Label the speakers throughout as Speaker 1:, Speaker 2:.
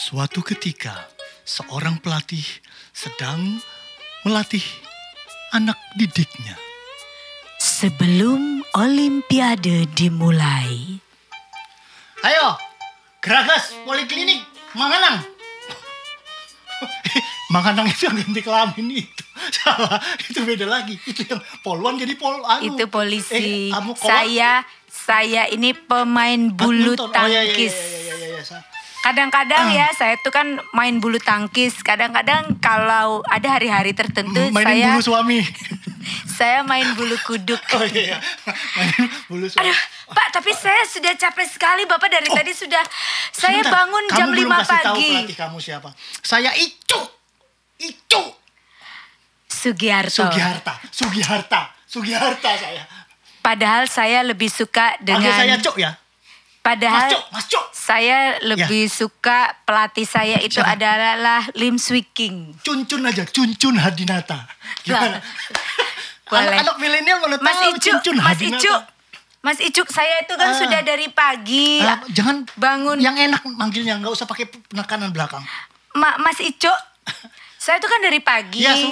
Speaker 1: Suatu ketika, seorang pelatih sedang melatih anak didiknya.
Speaker 2: Sebelum Olimpiade dimulai,
Speaker 3: Ayo, geragas poliklinik Manganang.
Speaker 1: Manganang itu yang ganti kelamin itu. Salah, itu beda lagi. Itu yang poluan jadi pol anu.
Speaker 2: itu polisi.
Speaker 1: Eh, kamu kolak-
Speaker 2: saya saya ini pemain bulu
Speaker 1: badminton. Oh, iya, iya,
Speaker 2: tangkis.
Speaker 1: iya, Ah. iya, iya, iya, sa-
Speaker 2: Kadang-kadang ya saya tuh kan main bulu tangkis. Kadang-kadang kalau ada hari-hari tertentu
Speaker 1: Mainin
Speaker 2: saya
Speaker 1: bulu suami.
Speaker 2: saya main bulu kuduk.
Speaker 1: Oh iya, iya. Mainin bulu suami.
Speaker 2: Aduh, Pak, tapi saya sudah capek sekali. Bapak dari tadi sudah saya
Speaker 1: Oh. Sebentar,
Speaker 2: bangun
Speaker 1: kamu
Speaker 2: jam
Speaker 1: belum
Speaker 2: 5
Speaker 1: kasih tahu
Speaker 2: pagi.
Speaker 1: pelatih kamu siapa. Saya itu. Itu.
Speaker 2: Sugiarto.
Speaker 1: Sugiharta. Sugiharta. Sugiharta saya.
Speaker 2: Padahal saya lebih suka
Speaker 1: Panggil
Speaker 2: dengan
Speaker 1: saya Cok ya. Mas
Speaker 2: padahal
Speaker 1: Cok, Mas Cok.
Speaker 2: saya lebih suka pelatih saya itu
Speaker 1: Siapa?
Speaker 2: adalah Lim Swee King.
Speaker 1: Cuncun aja, Cuncun Hadinata. Gimana?
Speaker 2: Lah, boleh.
Speaker 1: Anak-anak milenial mana
Speaker 2: Mas
Speaker 1: tahu
Speaker 2: Icuk,
Speaker 1: Cuncun
Speaker 2: Mas
Speaker 1: Hadinata.
Speaker 2: Icuk. Mas Icuk, saya itu kan
Speaker 1: Ah.
Speaker 2: sudah dari pagi.
Speaker 1: Eh, jangan
Speaker 2: Iya. bangun.
Speaker 1: yang enak manggilnya nggak usah pakai penekanan belakang.
Speaker 2: Ma- Mas Icuk, saya itu kan dari pagi.
Speaker 1: Iya, Su.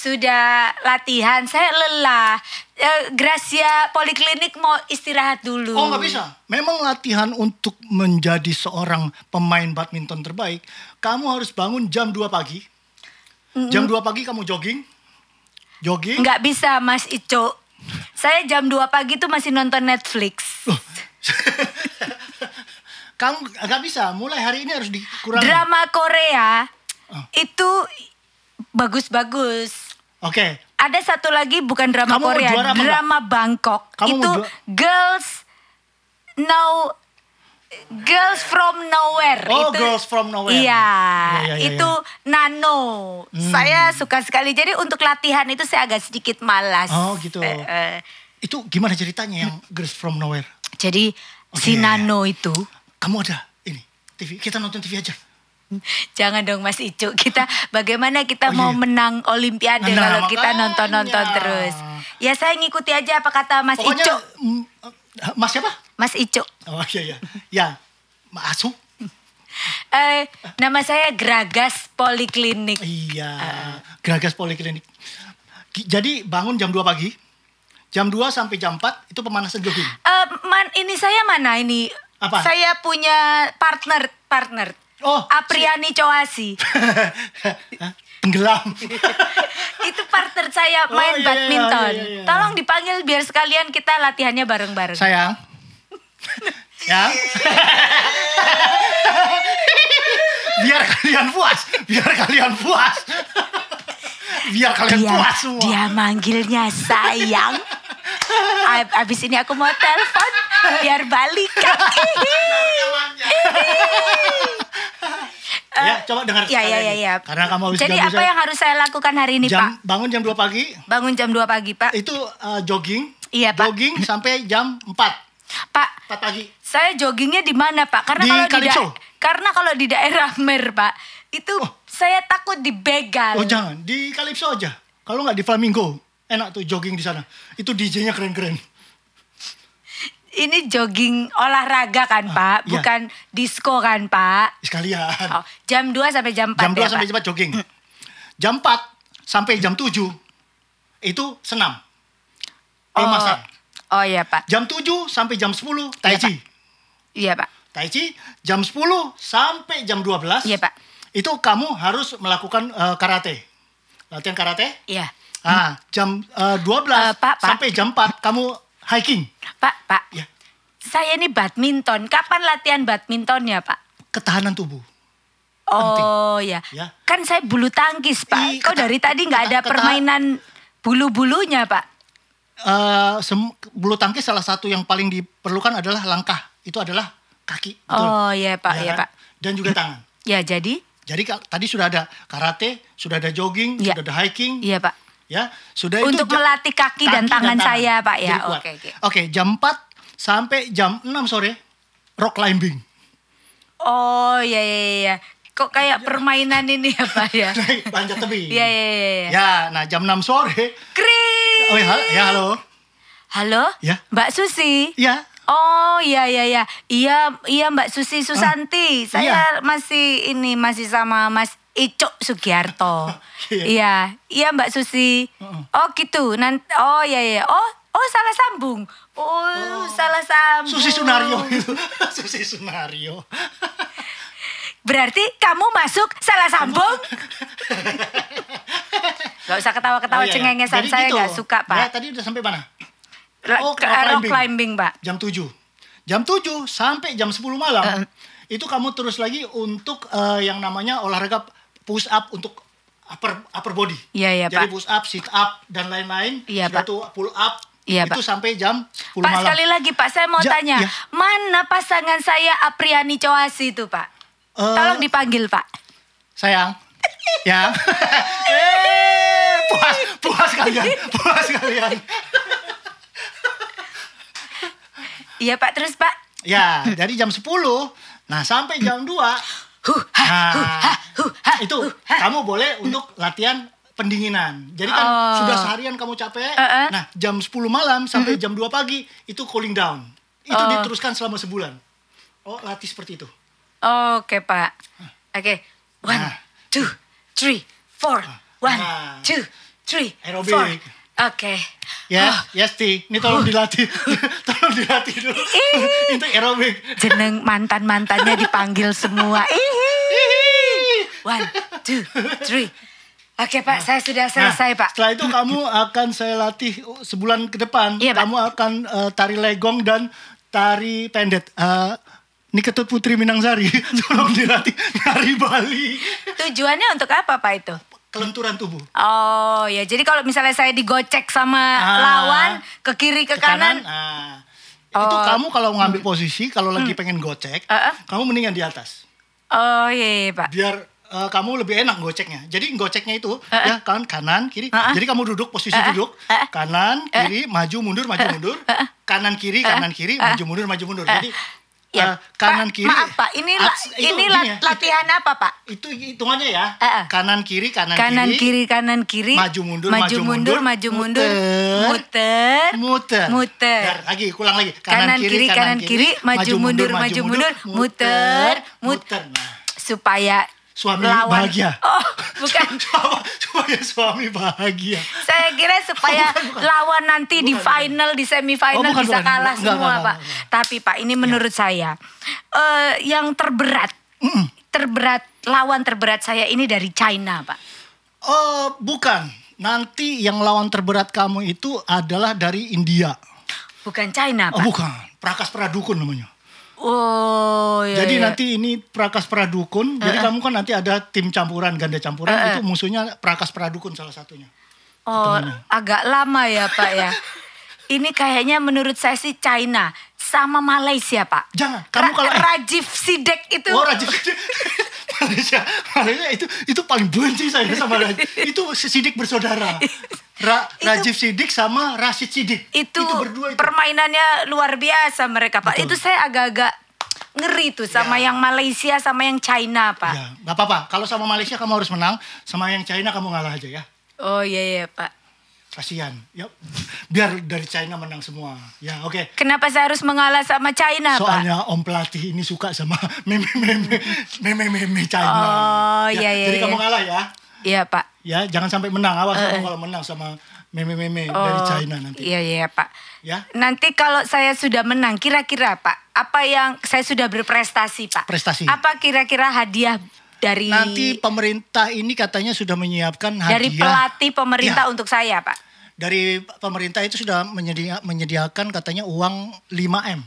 Speaker 2: Sudah latihan, saya lelah. Eh, Gracia Poliklinik mau istirahat dulu.
Speaker 1: Oh nggak bisa. Memang latihan untuk menjadi seorang pemain badminton terbaik, kamu harus bangun jam 2 pagi. Jam 2 pagi kamu jogging. Jogging.
Speaker 2: Nggak bisa, Mas Icuk. Saya jam 2 pagi tuh masih nonton Netflix.
Speaker 1: kamu nggak bisa. Mulai hari ini harus dikurangi.
Speaker 2: Drama Korea
Speaker 1: Oh.
Speaker 2: itu bagus-bagus.
Speaker 1: Oke.
Speaker 2: Ada satu lagi bukan drama
Speaker 1: Kamu
Speaker 2: Korea,
Speaker 1: juara apa enggak?
Speaker 2: drama Bangkok.
Speaker 1: Kamu
Speaker 2: itu
Speaker 1: juara-
Speaker 2: girls now girls from nowhere.
Speaker 1: Oh,
Speaker 2: itu,
Speaker 1: Girls from
Speaker 2: Iya,
Speaker 1: Nowhere. Iya, iya, iya, Hmm.
Speaker 2: itu Nano. Saya suka sekali. Jadi untuk latihan itu saya agak sedikit malas.
Speaker 1: Oh, gitu.
Speaker 2: Eh, eh,
Speaker 1: Itu gimana ceritanya yang Girls from Nowhere?
Speaker 2: jadi si
Speaker 1: Oke.
Speaker 2: Nano itu
Speaker 1: Kamu ada ini TV. Kita nonton TV aja.
Speaker 2: Jangan dong Mas Icu, kita bagaimana kita
Speaker 1: Oh,
Speaker 2: mau
Speaker 1: iya.
Speaker 2: menang Olimpiade
Speaker 1: Nah,
Speaker 2: kalau kita
Speaker 1: makanya.
Speaker 2: nonton-nonton terus. Ya saya ngikuti aja apa kata Mas
Speaker 1: Pokoknya
Speaker 2: Icu.
Speaker 1: mm, eh, Mas siapa?
Speaker 2: Mas Icu,
Speaker 1: Oh iya iya. Ya. Masuk.
Speaker 2: eh, nama saya Gragas Poliklinik.
Speaker 1: Iya. Geragas Poliklinik. Ki- Jadi bangun jam 2 pagi. Jam 2 sampai jam 4 itu pemanasan jogging.
Speaker 2: Eh, man, ini saya mana ini?
Speaker 1: Apa?
Speaker 2: Saya punya partner, partner.
Speaker 1: Oh,
Speaker 2: Apriani Coasi.
Speaker 1: Hah? Tenggelam.
Speaker 2: Itu partner saya
Speaker 1: Oh,
Speaker 2: main
Speaker 1: iya, iya,
Speaker 2: badminton.
Speaker 1: iya, iya.
Speaker 2: Tolong dipanggil biar sekalian kita latihannya bareng-bareng.
Speaker 1: Sayang. ya. biar kalian puas, biar kalian puas. biar kalian
Speaker 2: dia,
Speaker 1: puas kan semua.
Speaker 2: dia manggilnya sayang. Ab- Abis ini aku mau telepon biar balik.
Speaker 1: ya, coba dengar
Speaker 2: Ya, ya,
Speaker 1: sekali
Speaker 2: ya,
Speaker 1: lagi.
Speaker 2: ya.
Speaker 1: Karena kamu habis
Speaker 2: Jadi
Speaker 1: ganggu
Speaker 2: apa
Speaker 1: saya.
Speaker 2: yang harus saya lakukan hari ini,
Speaker 1: jam,
Speaker 2: Pak?
Speaker 1: bangun jam 2 pagi
Speaker 2: Bangun jam 2 pagi, Pak.
Speaker 1: itu eh, jogging.
Speaker 2: Iya, Pak.
Speaker 1: Jogging sampai jam 4.
Speaker 2: Pak,
Speaker 1: 4 pagi.
Speaker 2: saya joggingnya di mana, Pak? Karena
Speaker 1: Di
Speaker 2: kalau di
Speaker 1: Kalipso.
Speaker 2: da- karena kalau di daerah Mer, Pak, itu saya takut dibegal.
Speaker 1: Oh, jangan di Calypso aja. Kalau nggak di Flamingo, enak tuh jogging di sana. Itu DJ-nya keren-keren.
Speaker 2: ini jogging olahraga kan, Pak?
Speaker 1: iya.
Speaker 2: Bukan disco kan, Pak?
Speaker 1: Sekalian.
Speaker 2: Oh, jam 2 sampai jam 4
Speaker 1: jam
Speaker 2: ya,
Speaker 1: 2 sampai
Speaker 2: Pak?
Speaker 1: jam 4 jogging. Jam 4 sampai jam 7 itu senam.
Speaker 2: Oh.
Speaker 1: Pemasan.
Speaker 2: Oh iya, Pak.
Speaker 1: Jam 7 sampai jam 10
Speaker 2: Iya,
Speaker 1: tai
Speaker 2: Pak.
Speaker 1: chi.
Speaker 2: Iya, Pak.
Speaker 1: Tai chi jam 10 sampai jam 12.
Speaker 2: Iya, Pak.
Speaker 1: Itu kamu harus melakukan eh, karate. Latihan karate.
Speaker 2: Iya.
Speaker 1: Ah, jam eh,
Speaker 2: Eh,
Speaker 1: 12
Speaker 2: Pak, Pak.
Speaker 1: sampai jam 4 kamu hiking.
Speaker 2: Pak, Pak.
Speaker 1: Ya.
Speaker 2: Saya ini badminton. Kapan latihan badmintonnya, Pak?
Speaker 1: Ketahanan tubuh.
Speaker 2: Oh ya.
Speaker 1: Ya.
Speaker 2: Kan saya bulu tangkis, Pak.
Speaker 1: Ih,
Speaker 2: Kok
Speaker 1: keta-
Speaker 2: dari tadi nggak
Speaker 1: keta-
Speaker 2: ada
Speaker 1: keta-
Speaker 2: permainan bulu-bulunya, Pak?
Speaker 1: Eh, sem- bulu tangkis salah satu yang paling diperlukan adalah langkah. Itu adalah kaki. betul.
Speaker 2: Oh iya, Pak,
Speaker 1: Ya
Speaker 2: iya,
Speaker 1: kan?
Speaker 2: Pak.
Speaker 1: Dan juga tangan.
Speaker 2: Ya, jadi?
Speaker 1: Jadi kal- tadi sudah ada karate, sudah ada jogging,
Speaker 2: Iya.
Speaker 1: sudah ada hiking,
Speaker 2: Iya, Pak.
Speaker 1: ya. Sudah
Speaker 2: Untuk
Speaker 1: itu ja-
Speaker 2: melatih kaki dan tangan saya, Pak, ya.
Speaker 1: Jadi kuat.
Speaker 2: Oke, oke.
Speaker 1: Oke, jam 4 sampai jam 6 sore rock climbing.
Speaker 2: Oh ya ya ya, ya. Kok
Speaker 1: Iya.
Speaker 2: kayak permainan ini ya, Pak ya?
Speaker 1: Naik Panjat tebing.
Speaker 2: Ya ya ya. ya.
Speaker 1: Ya, nah jam 6 sore.
Speaker 2: Kris.
Speaker 1: iya. Oh ya, hal- ya, halo.
Speaker 2: Halo?
Speaker 1: Ya.
Speaker 2: Mbak Susi.
Speaker 1: Ya.
Speaker 2: Oh iya iya iya iya iya Mbak Susi
Speaker 1: Ah, iya.
Speaker 2: Susanti saya masih ini masih sama Mas Icuk Sugiarto
Speaker 1: Iya.
Speaker 2: iya iya Mbak Susi oh gitu nanti oh iya iya oh oh salah sambung oh, salah sambung Oh.
Speaker 1: Susi Sunario itu. Susi Sunario.
Speaker 2: berarti kamu masuk salah sambung Gak usah ketawa-ketawa
Speaker 1: Oh, iya, iya.
Speaker 2: cengengesan
Speaker 1: Jadi
Speaker 2: saya
Speaker 1: gitu.
Speaker 2: nggak suka
Speaker 1: Ya,
Speaker 2: Pak
Speaker 1: tadi udah sampai mana?
Speaker 2: La-
Speaker 1: oh,
Speaker 2: ke
Speaker 1: rock
Speaker 2: rock
Speaker 1: climbing.
Speaker 2: climbing Pak
Speaker 1: Jam 7. Jam 7 sampai jam 10 malam.
Speaker 2: Eh.
Speaker 1: Itu kamu terus lagi untuk eh, yang namanya olahraga push up untuk upper upper body.
Speaker 2: Iya, iya,
Speaker 1: Jadi
Speaker 2: Pak.
Speaker 1: push up, sit up dan lain-lain.
Speaker 2: Iya,
Speaker 1: Sudah
Speaker 2: Pak.
Speaker 1: tuh pull up.
Speaker 2: Iya,
Speaker 1: itu
Speaker 2: Pak.
Speaker 1: sampai jam 10
Speaker 2: Pak
Speaker 1: malam.
Speaker 2: sekali lagi Pak saya mau
Speaker 1: Ja-
Speaker 2: tanya
Speaker 1: ya.
Speaker 2: mana pasangan saya Apriani Coasi itu Pak?
Speaker 1: Eh,
Speaker 2: Tolong dipanggil Pak.
Speaker 1: Sayang. Ya. Eh, puas, puas kalian. Puas kalian.
Speaker 2: Iya Pak terus Pak.
Speaker 1: Ya, dari jam 10. Nah, sampai jam 2
Speaker 2: Huh, ha,
Speaker 1: Nah,
Speaker 2: huh, ha, huh, ha,
Speaker 1: itu
Speaker 2: huh, ha.
Speaker 1: kamu boleh untuk latihan pendinginan. Jadi kan
Speaker 2: Oh.
Speaker 1: sudah seharian kamu capek.
Speaker 2: Eh, eh.
Speaker 1: Nah, jam 10 malam sampai jam 2 pagi itu cooling down. Itu
Speaker 2: Oh.
Speaker 1: diteruskan selama sebulan. Oh, latih seperti itu.
Speaker 2: Oke Pak. Oke. One,
Speaker 1: Nah.
Speaker 2: two, three, four. One,
Speaker 1: Nah.
Speaker 2: two, three,
Speaker 1: Aerobik.
Speaker 2: four. Oke.
Speaker 1: Ya, yes, Ti. Ini tolong dilatih. tolong dilatih dulu. itu aerobik.
Speaker 2: Jeneng mantan mantannya dipanggil semua. Ihi. One, two, three. Oke Pak saya sudah selesai
Speaker 1: Nah,
Speaker 2: Pak.
Speaker 1: Setelah itu kamu akan saya latih sebulan ke depan.
Speaker 2: Iya, Pak.
Speaker 1: kamu akan eh, tari legong dan tari pendet. Eh, ini ketut putri Minangzari tolong dilatih dari Bali.
Speaker 2: Tujuannya untuk apa Pak itu?
Speaker 1: Kelenturan tubuh.
Speaker 2: Oh ya, jadi kalau misalnya saya digocek sama
Speaker 1: Ah.
Speaker 2: lawan ke kiri ke, kanan,
Speaker 1: ah.
Speaker 2: Oh. Hmm.
Speaker 1: Itu kamu kalau ngambil posisi kalau lagi pengen gocek,
Speaker 2: Eh, eh.
Speaker 1: kamu mendingan di atas.
Speaker 2: oh iya, iya, pak.
Speaker 1: Biar eh, kamu lebih enak goceknya. Jadi goceknya itu ya kan kanan
Speaker 2: Eh,
Speaker 1: kiri.
Speaker 2: eh.
Speaker 1: Jadi kamu duduk
Speaker 2: Eh,
Speaker 1: posisi
Speaker 2: eh.
Speaker 1: duduk
Speaker 2: Eh, eh.
Speaker 1: kanan kiri maju mundur maju mundur kanan kiri kanan kiri maju mundur maju mundur. Jadi eh,
Speaker 2: Ya,
Speaker 1: kanan
Speaker 2: Pak,
Speaker 1: kiri.
Speaker 2: Maaf pak, ini la-
Speaker 1: abs- itu
Speaker 2: ini
Speaker 1: gini
Speaker 2: la-
Speaker 1: ya,
Speaker 2: latihan apa pak?
Speaker 1: Itu hitungannya ya.
Speaker 2: Eh, eh.
Speaker 1: Kanan kiri kanan,
Speaker 2: Kanan kiri kanan kiri,
Speaker 1: Maju mundur,
Speaker 2: maju
Speaker 1: maju
Speaker 2: mundur,
Speaker 1: mundur,
Speaker 2: maju mundur,
Speaker 1: muter.
Speaker 2: muter,
Speaker 1: muter
Speaker 2: muter.
Speaker 1: Dar, lagi ulang lagi
Speaker 2: Kanan, kiri, kanan, kiri, maju mundur, maju mundur, muter,
Speaker 1: muter nah
Speaker 2: supaya
Speaker 1: Suami
Speaker 2: lawan
Speaker 1: bahagia.
Speaker 2: Oh bukan.
Speaker 1: Apa? supaya ya suami bahagia
Speaker 2: Saya kira supaya lawan nanti di final di semifinal
Speaker 1: Oh, bukan,
Speaker 2: bisa
Speaker 1: bukan.
Speaker 2: kalah
Speaker 1: Enggak,
Speaker 2: semua,
Speaker 1: enggak, enggak, Iya.
Speaker 2: Pak. Tapi Pak, ini menurut saya eh, yang terberat terberat lawan terberat saya ini dari China, Pak.
Speaker 1: oh bukan nanti yang lawan terberat kamu itu adalah dari India
Speaker 2: Bukan China, Pak.
Speaker 1: oh bukan Prakas Pradukun namanya
Speaker 2: Oh, iya.
Speaker 1: Jadi
Speaker 2: iya.
Speaker 1: nanti ini Prakas Pradukun. Jadi kamu kan nanti ada tim campuran, ganda campuran itu musuhnya Prakas Pradukun salah satunya.
Speaker 2: Oh, agak lama ya, Pak ya. ini kayaknya menurut saya sih China sama Malaysia, Pak.
Speaker 1: Jangan, kamu
Speaker 2: Ra-
Speaker 1: kalau eh,
Speaker 2: Rajiv Sidek itu
Speaker 1: Oh Rajiv Malaysia, Malaysia itu itu paling benci saya sama Rajiv. itu Sidik bersaudara. Ra- Rajiv Sidik sama Rashid Sidik.
Speaker 2: itu,
Speaker 1: berdua itu.
Speaker 2: permainannya luar biasa mereka pak itu saya agak-agak ngeri tuh sama yang Malaysia sama yang China pak
Speaker 1: Ya, nggak apa-apa. Kalau sama Malaysia kamu harus menang, sama yang China kamu ngalah aja ya.
Speaker 2: oh iya iya pak
Speaker 1: Kasihan. Ya, biar dari China menang semua. Ya, oke.
Speaker 2: kenapa saya harus mengalah sama China Iya, pak
Speaker 1: Soalnya Om pelatih ini suka sama meme-meme meme-meme China.
Speaker 2: Oh, iya,
Speaker 1: ya,
Speaker 2: iya,
Speaker 1: Jadi
Speaker 2: iya.
Speaker 1: kamu ngalah ya.
Speaker 2: iya pak
Speaker 1: Ya, jangan sampai menang. Awas kamu kalau menang sama meme-meme dari
Speaker 2: eh. Oh,
Speaker 1: China nanti.
Speaker 2: iya iya pak
Speaker 1: Ya.
Speaker 2: nanti kalau saya sudah menang kira-kira pak apa yang saya sudah berprestasi pak
Speaker 1: Prestasi.
Speaker 2: apa kira-kira hadiah dari
Speaker 1: Nanti pemerintah ini katanya sudah menyiapkan hadiah. Ya.
Speaker 2: dari pelatih pemerintah untuk saya pak
Speaker 1: Dari pemerintah itu sudah menyedia- menyediakan katanya uang 5M.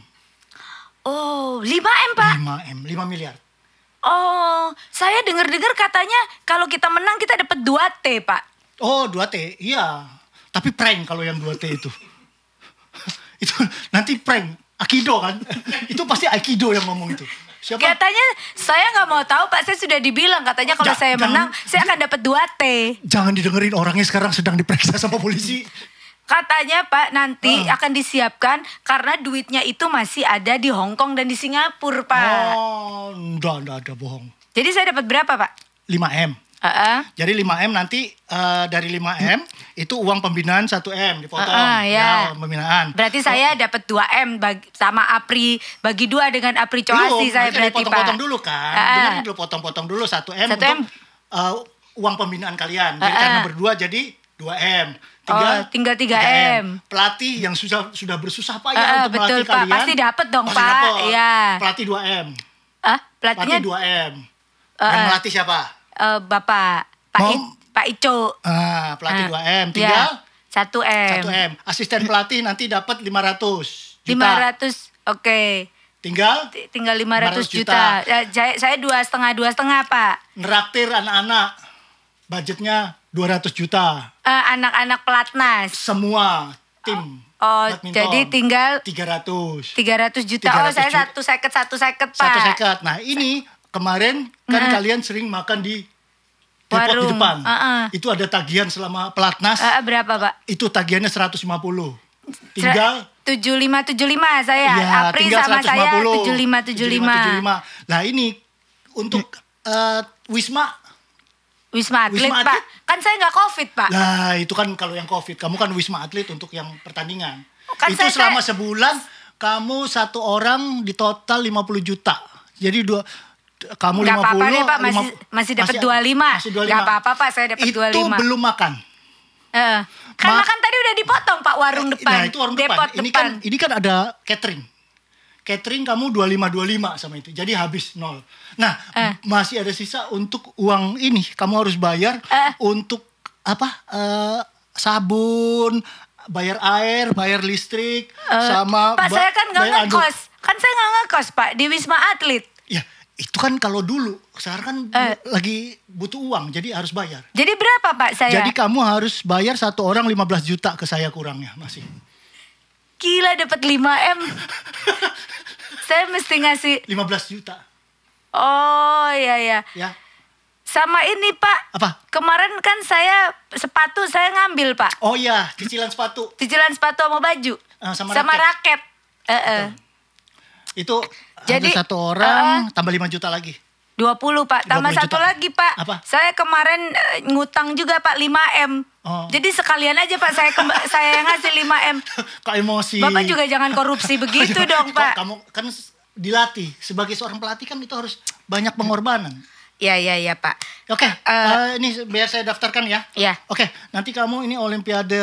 Speaker 2: oh 5 m pak
Speaker 1: 5M, 5 miliar.
Speaker 2: Oh, saya dengar-dengar katanya kalau kita menang kita dapat 2 T, Pak.
Speaker 1: Oh, 2T. Iya. Tapi prank kalau yang 2T itu. itu nanti prank. Akido kan? itu pasti Aikido yang ngomong itu. Siapa?
Speaker 2: Katanya saya nggak mau tahu, Pak. Saya sudah dibilang katanya kalau
Speaker 1: Ja-
Speaker 2: saya
Speaker 1: jangan-
Speaker 2: menang saya akan dapat 2 T.
Speaker 1: Jangan didengerin orangnya sekarang sedang diperiksa sama polisi.
Speaker 2: Katanya, Pak, nanti
Speaker 1: Ah.
Speaker 2: akan disiapkan karena duitnya itu masih ada di Hong Kong dan di Singapura, Pak.
Speaker 1: Oh, enggak, enggak ada bohong.
Speaker 2: Jadi saya dapat berapa, Pak?
Speaker 1: 5M.
Speaker 2: Heeh.
Speaker 1: Jadi 5M nanti eh, dari 5M itu uang pembinaan 1M dipotong.
Speaker 2: Heeh, Hmm. ya.
Speaker 1: Ya, pembinaan.
Speaker 2: Berarti saya dapat 2M bagi, sama Apri bagi dua dengan Apri Coasi saya
Speaker 1: makanya
Speaker 2: berarti Pak.
Speaker 1: dipotong-potong dulu kan.
Speaker 2: Ah.
Speaker 1: Dengerin dulu potong-potong dulu 1M
Speaker 2: 1M.
Speaker 1: untuk eh, uang pembinaan kalian. Jadi
Speaker 2: Ah, ah.
Speaker 1: karena berdua jadi 2M.
Speaker 2: Oh, tinggal 3M.
Speaker 1: Pelatih yang sudah sudah bersusah payah
Speaker 2: Ah, ah,
Speaker 1: untuk melatih
Speaker 2: betul, Pak.
Speaker 1: kalian.
Speaker 2: Pasti dapet dong,
Speaker 1: pasti
Speaker 2: Pak.
Speaker 1: dapet.
Speaker 2: Iya.
Speaker 1: Pelatih 2M.
Speaker 2: Ah,
Speaker 1: Pelatih
Speaker 2: pelatihnya
Speaker 1: 2M.
Speaker 2: Ah,
Speaker 1: Yang
Speaker 2: ah.
Speaker 1: melatih siapa?
Speaker 2: eh, Bapak Pak
Speaker 1: Mau-
Speaker 2: I- Pak Ico.
Speaker 1: Ah,
Speaker 2: Ah,
Speaker 1: pelatih 2M.
Speaker 2: ya.
Speaker 1: Tinggal
Speaker 2: 1M.
Speaker 1: 1M. Asisten pelatih nanti dapat 500 juta.
Speaker 2: 500. Oke.
Speaker 1: Tinggal
Speaker 2: T- Tinggal 500
Speaker 1: 500
Speaker 2: juta.
Speaker 1: juta.
Speaker 2: Ya, saya, saya dua setengah, dua setengah, Pak.
Speaker 1: neraktir anak-anak. Budgetnya 200 juta.
Speaker 2: Eh, anak-anak pelatnas.
Speaker 1: semua tim
Speaker 2: Oh,
Speaker 1: badminton.
Speaker 2: jadi tinggal
Speaker 1: 300
Speaker 2: 300 juta. oh,
Speaker 1: 300
Speaker 2: saya
Speaker 1: juta.
Speaker 2: satu seket, satu seket, Pak.
Speaker 1: satu sekat nah ini kemarin
Speaker 2: Nah.
Speaker 1: kan kalian sering makan di depot di
Speaker 2: Warung.
Speaker 1: depan
Speaker 2: Uh-uh.
Speaker 1: itu ada tagihan selama pelatnas
Speaker 2: Eh, berapa, Pak?
Speaker 1: itu tagihannya 150
Speaker 2: Ser-
Speaker 1: tinggal
Speaker 2: 7575 saya.
Speaker 1: ya,
Speaker 2: Apri
Speaker 1: tinggal
Speaker 2: sama
Speaker 1: 150
Speaker 2: saya 7575.
Speaker 1: 75. nah ini untuk eh, Wisma
Speaker 2: Wisma Atlet,
Speaker 1: Wisma
Speaker 2: Pak.
Speaker 1: Atlet.
Speaker 2: Kan saya nggak Covid, Pak.
Speaker 1: Nah, itu kan kalau yang COVID, kamu kan wisma atlet untuk yang pertandingan.
Speaker 2: Kan
Speaker 1: itu
Speaker 2: saya-
Speaker 1: selama sebulan kamu satu orang di total 50 juta. Jadi dua kamu
Speaker 2: Nggak
Speaker 1: 50
Speaker 2: apa-apa deh, Pak. Masih-
Speaker 1: lima-
Speaker 2: masih dapat 25.
Speaker 1: masih
Speaker 2: Nggak apa-apa, Pak. Saya dapat
Speaker 1: itu
Speaker 2: 25.
Speaker 1: belum makan.
Speaker 2: Eh, karena
Speaker 1: Ma-
Speaker 2: kan tadi udah dipotong, Pak, warung depan.
Speaker 1: Nah, itu warung depan.
Speaker 2: Depot
Speaker 1: Ini
Speaker 2: depan.
Speaker 1: kan ini kan ada catering. Catering kamu 2525 sama itu. Jadi habis nol. Nah,
Speaker 2: Eh.
Speaker 1: masih ada sisa untuk uang ini. Kamu harus bayar
Speaker 2: Eh.
Speaker 1: untuk apa? eh, sabun, bayar air, bayar listrik
Speaker 2: Eh,
Speaker 1: sama Anu.
Speaker 2: Pak,
Speaker 1: ba-
Speaker 2: saya kan nggak
Speaker 1: bayar anduk.
Speaker 2: ngekos. Kan saya nggak ngekos, Pak, di Wisma Atlet.
Speaker 1: Ya, itu kan kalau dulu. Sekarang kan
Speaker 2: Eh.
Speaker 1: lagi butuh uang, jadi harus bayar.
Speaker 2: Jadi berapa, Pak, saya?
Speaker 1: Jadi kamu harus bayar satu orang 15 juta ke saya kurangnya masih.
Speaker 2: Gila, dapat 5M. saya mesti ngasih
Speaker 1: 15 juta,
Speaker 2: Oh iya ya.
Speaker 1: ya.
Speaker 2: Sama ini Pak.
Speaker 1: Apa?
Speaker 2: Kemarin kan saya sepatu saya ngambil Pak.
Speaker 1: Oh iya, cicilan sepatu.
Speaker 2: Cicilan sepatu sama baju.
Speaker 1: Ah, sama
Speaker 2: raket. Eh, eh.
Speaker 1: Itu
Speaker 2: Jadi, eh,
Speaker 1: ada satu orang tambah 5 juta lagi.
Speaker 2: 20 Pak. Tambah
Speaker 1: 20
Speaker 2: satu
Speaker 1: juta.
Speaker 2: lagi Pak.
Speaker 1: Apa?
Speaker 2: Saya kemarin eh, ngutang juga Pak 5M.
Speaker 1: Oh.
Speaker 2: Jadi sekalian aja Pak saya kemb- saya yang ngasih 5M.
Speaker 1: Kok emosi?
Speaker 2: Bapak juga jangan korupsi begitu dong
Speaker 1: Kok
Speaker 2: Pak.
Speaker 1: Kamu kan s- dilatih sebagai seorang pelatih kan itu harus banyak pengorbanan.
Speaker 2: Ya ya ya Pak.
Speaker 1: Oke,
Speaker 2: Eh,
Speaker 1: eh, ini biar saya daftarkan ya.
Speaker 2: Iya.
Speaker 1: Oke, nanti kamu ini olimpiade